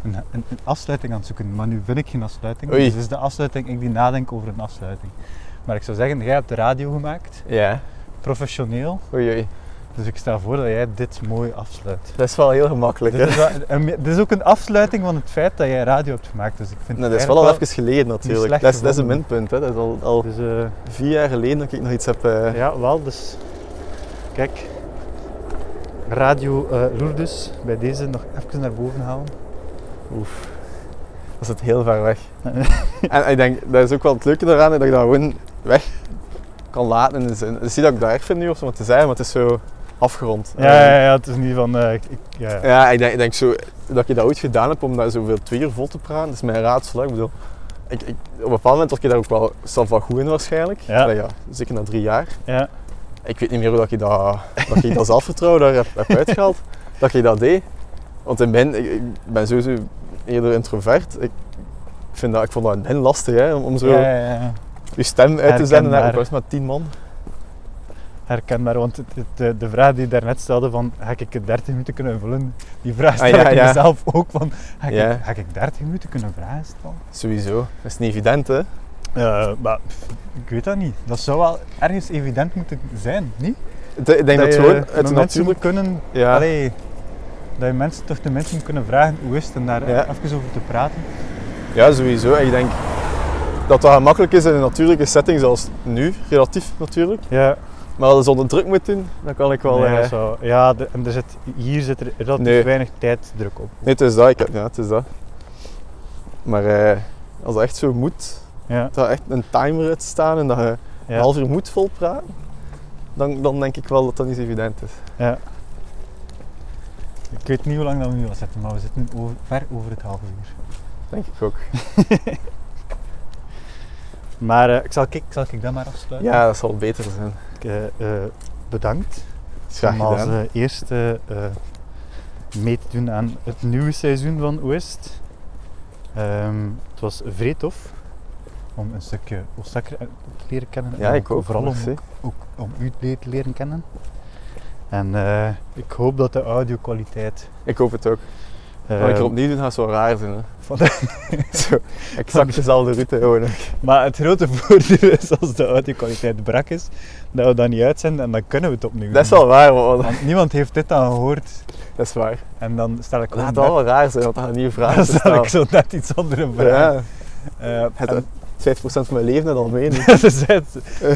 Speaker 1: een, een, een afsluiting aan het zoeken, maar nu vind ik geen afsluiting.
Speaker 2: Oei.
Speaker 1: Dus het is de afsluiting, ik die nadenk over een afsluiting. Maar ik zou zeggen, jij hebt de radio gemaakt,
Speaker 2: Ja.
Speaker 1: professioneel.
Speaker 2: Oei, oei.
Speaker 1: Dus ik stel voor dat jij dit mooi afsluit.
Speaker 2: Dat is wel heel gemakkelijk.
Speaker 1: Dit
Speaker 2: Hè?
Speaker 1: is, wel- en dit is ook een afsluiting van het feit dat jij radio hebt gemaakt. Dus ik vind
Speaker 2: Nou,
Speaker 1: het
Speaker 2: dat is wel
Speaker 1: eigenlijk
Speaker 2: al even geleden natuurlijk.
Speaker 1: slecht
Speaker 2: Dat is, dat is een
Speaker 1: gevonden.
Speaker 2: minpunt. Hè? Dat is al, al
Speaker 1: Dus, eh,
Speaker 2: vier jaar geleden dat ik nog iets heb. eh,
Speaker 1: Ja, wel, dus kijk, Radio eh Lourdes, bij deze nog even naar boven halen.
Speaker 2: Oef. Dat zit heel ver weg. en ik denk, dat is ook wel het leuke daaraan, dat ik dat gewoon weg kan laten Dus, in de zin. Het is niet dat ik daar vind nu of zo wat te zeggen, maar het is zo afgerond.
Speaker 1: Ja, ja, ja, het is niet van, eh, ik, ik- ja, ja.
Speaker 2: Ja, ik denk, ik denk zo, dat je dat ooit gedaan hebt om daar zoveel twee uur vol te praten. Dat is mijn raadsel. hè. Ik bedoel, ik, ik, op een bepaald moment word je daar ook wel zelf wel goed in waarschijnlijk.
Speaker 1: Ja.
Speaker 2: Allee, ja, zeker na drie jaar.
Speaker 1: Ja.
Speaker 2: Ik weet niet meer hoe dat je dat, dat, je dat zelfvertrouwen daar heb, heb uitgehaald. Dat je dat deed. Want in ben, ik, ik ben sowieso eerder introvert. Ik, vind dat, ik vond dat in het begin lastig hè, om, om zo
Speaker 1: Ja, ja, ja.
Speaker 2: je stem uit te zenden. hè.
Speaker 1: Herkenbaar.
Speaker 2: Ook al is het maar tien man.
Speaker 1: herkenbaar, want het, het, eh, de vraag die je daarnet stelde van, ga ik het 30 minuten kunnen vullen? Die vraag
Speaker 2: Ah,
Speaker 1: stel
Speaker 2: ja,
Speaker 1: ik
Speaker 2: ja.
Speaker 1: mezelf ook van, ga ik,
Speaker 2: Ja.
Speaker 1: ga ik 30 minuten kunnen vragen stellen?
Speaker 2: Sowieso. Dat is niet evident hè.
Speaker 1: Eh, maar pff, ik weet dat niet. Dat zou wel ergens evident moeten zijn, niet?
Speaker 2: Ik denk dat, het
Speaker 1: je
Speaker 2: gewoon
Speaker 1: met
Speaker 2: uit
Speaker 1: mensen
Speaker 2: de natuurlijk...
Speaker 1: kunnen
Speaker 2: Ja.
Speaker 1: Allee, dat je mensen toch de mensen kunnen vragen hoe is het en daar
Speaker 2: Ja.
Speaker 1: even over te praten.
Speaker 2: Ja, sowieso. En ik denk dat dat gemakkelijk is in een natuurlijke setting zoals nu, relatief natuurlijk.
Speaker 1: Ja,
Speaker 2: Dat Maar als zonder druk moet doen, dan kan ik wel...
Speaker 1: Nee, dat
Speaker 2: eh,
Speaker 1: is wel- ja, de- en er zit, hier zit er relatief
Speaker 2: Nee.
Speaker 1: weinig tijddruk op.
Speaker 2: Nee, het is dat. Ik heb, ja, het is dat. Maar eh, als het echt zo moet,
Speaker 1: Ja,
Speaker 2: dat er echt een timer uit staan en dat je
Speaker 1: ja.
Speaker 2: een half uur moet volpraten, dan, dan denk ik wel dat dat niet zo evident is.
Speaker 1: Ik weet niet hoe lang dat we nu al zitten, maar we zitten over- ver over het half uur.
Speaker 2: Denk ik ook.
Speaker 1: Maar eh, ik zal, kijk, zal ik dat maar afsluiten?
Speaker 2: Ja, dat zal beter zijn.
Speaker 1: Ik, eh, eh, bedankt
Speaker 2: Dat is graag
Speaker 1: om als
Speaker 2: gedaan.
Speaker 1: eh, eerste eh, mee te doen aan het nieuwe seizoen van Oest. Ehm, het was vrij tof om een stukje Osaka eh, te leren kennen.
Speaker 2: ja,
Speaker 1: en
Speaker 2: ik ook.
Speaker 1: Vooral om,
Speaker 2: merci.
Speaker 1: ook om u te le- leren kennen. En eh, ik hoop dat de audio-kwaliteit
Speaker 2: Ik hoop het ook. Als ik
Speaker 1: eh,
Speaker 2: er opnieuw doe, gaat het zo raar zijn. Hè.
Speaker 1: van-
Speaker 2: Zo, exact dezelfde route houden.
Speaker 1: Maar het grote voordeel is als de audio-kwaliteit brak is, dat we dat niet uitzenden en dan kunnen we het opnieuw
Speaker 2: Dat is
Speaker 1: doen.
Speaker 2: wel waar, want,
Speaker 1: Want niemand heeft dit dan gehoord
Speaker 2: dat is waar.
Speaker 1: en dan stel ik, gewoon
Speaker 2: Laat dat
Speaker 1: net,
Speaker 2: wel raar zijn, want dan gaan nieuwe vragen
Speaker 1: dan stel ik
Speaker 2: stellen.
Speaker 1: zo net iets andere vraag.
Speaker 2: Ja,
Speaker 1: Eh,
Speaker 2: het,
Speaker 1: en
Speaker 2: 50% van mijn leven net al mee. nu.
Speaker 1: dat is het.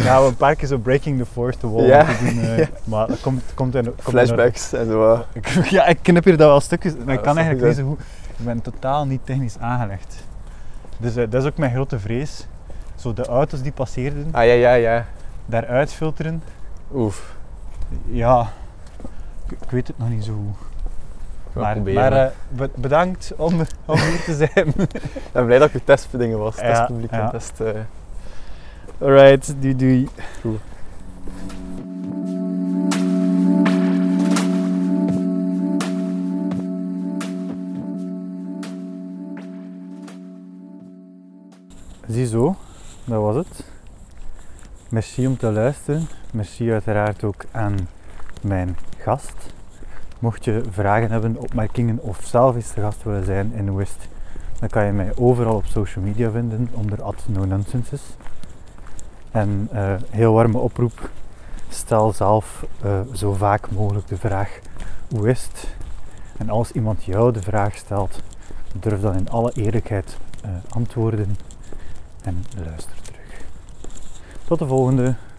Speaker 1: Ja, we een paar keer zo breaking the fourth wall
Speaker 2: Ja,
Speaker 1: moeten doen, eh, maar dat komt, komt in... Komt in-
Speaker 2: Flashbacks en zo. eh.
Speaker 1: Ik- ja, ik knip hier dat wel stukjes, maar
Speaker 2: Ja,
Speaker 1: ik kan
Speaker 2: dat is
Speaker 1: eigenlijk niet
Speaker 2: goed,
Speaker 1: zo goed. Ik ben totaal niet technisch aangelegd. Dus eh, dat is ook mijn grote vrees. Zo de auto's die passeerden,
Speaker 2: Ah ja, ja, ja.
Speaker 1: daaruit filteren.
Speaker 2: Oef.
Speaker 1: Ja, ik, ik weet het nog niet zo goed.
Speaker 2: ga
Speaker 1: Maar,
Speaker 2: proberen.
Speaker 1: maar eh, be- bedankt om, om hier te zijn.
Speaker 2: Ik ben blij dat ik uw testbedingen was.
Speaker 1: Ja,
Speaker 2: testpubliek
Speaker 1: ja.
Speaker 2: en test... eh,
Speaker 1: Alright, doei doei.
Speaker 3: Ziezo, dat was het. Merci om te luisteren. Merci uiteraard ook aan mijn gast. Mocht je vragen hebben, opmerkingen of zelf eens te gast willen zijn in West, dan kan je mij overal op social media vinden onder @nononsenses. En eh, heel warme oproep, stel zelf eh, zo vaak mogelijk de vraag hoe is het? En als iemand jou de vraag stelt, durf dan in alle eerlijkheid eh, antwoorden en luister terug. Tot de volgende.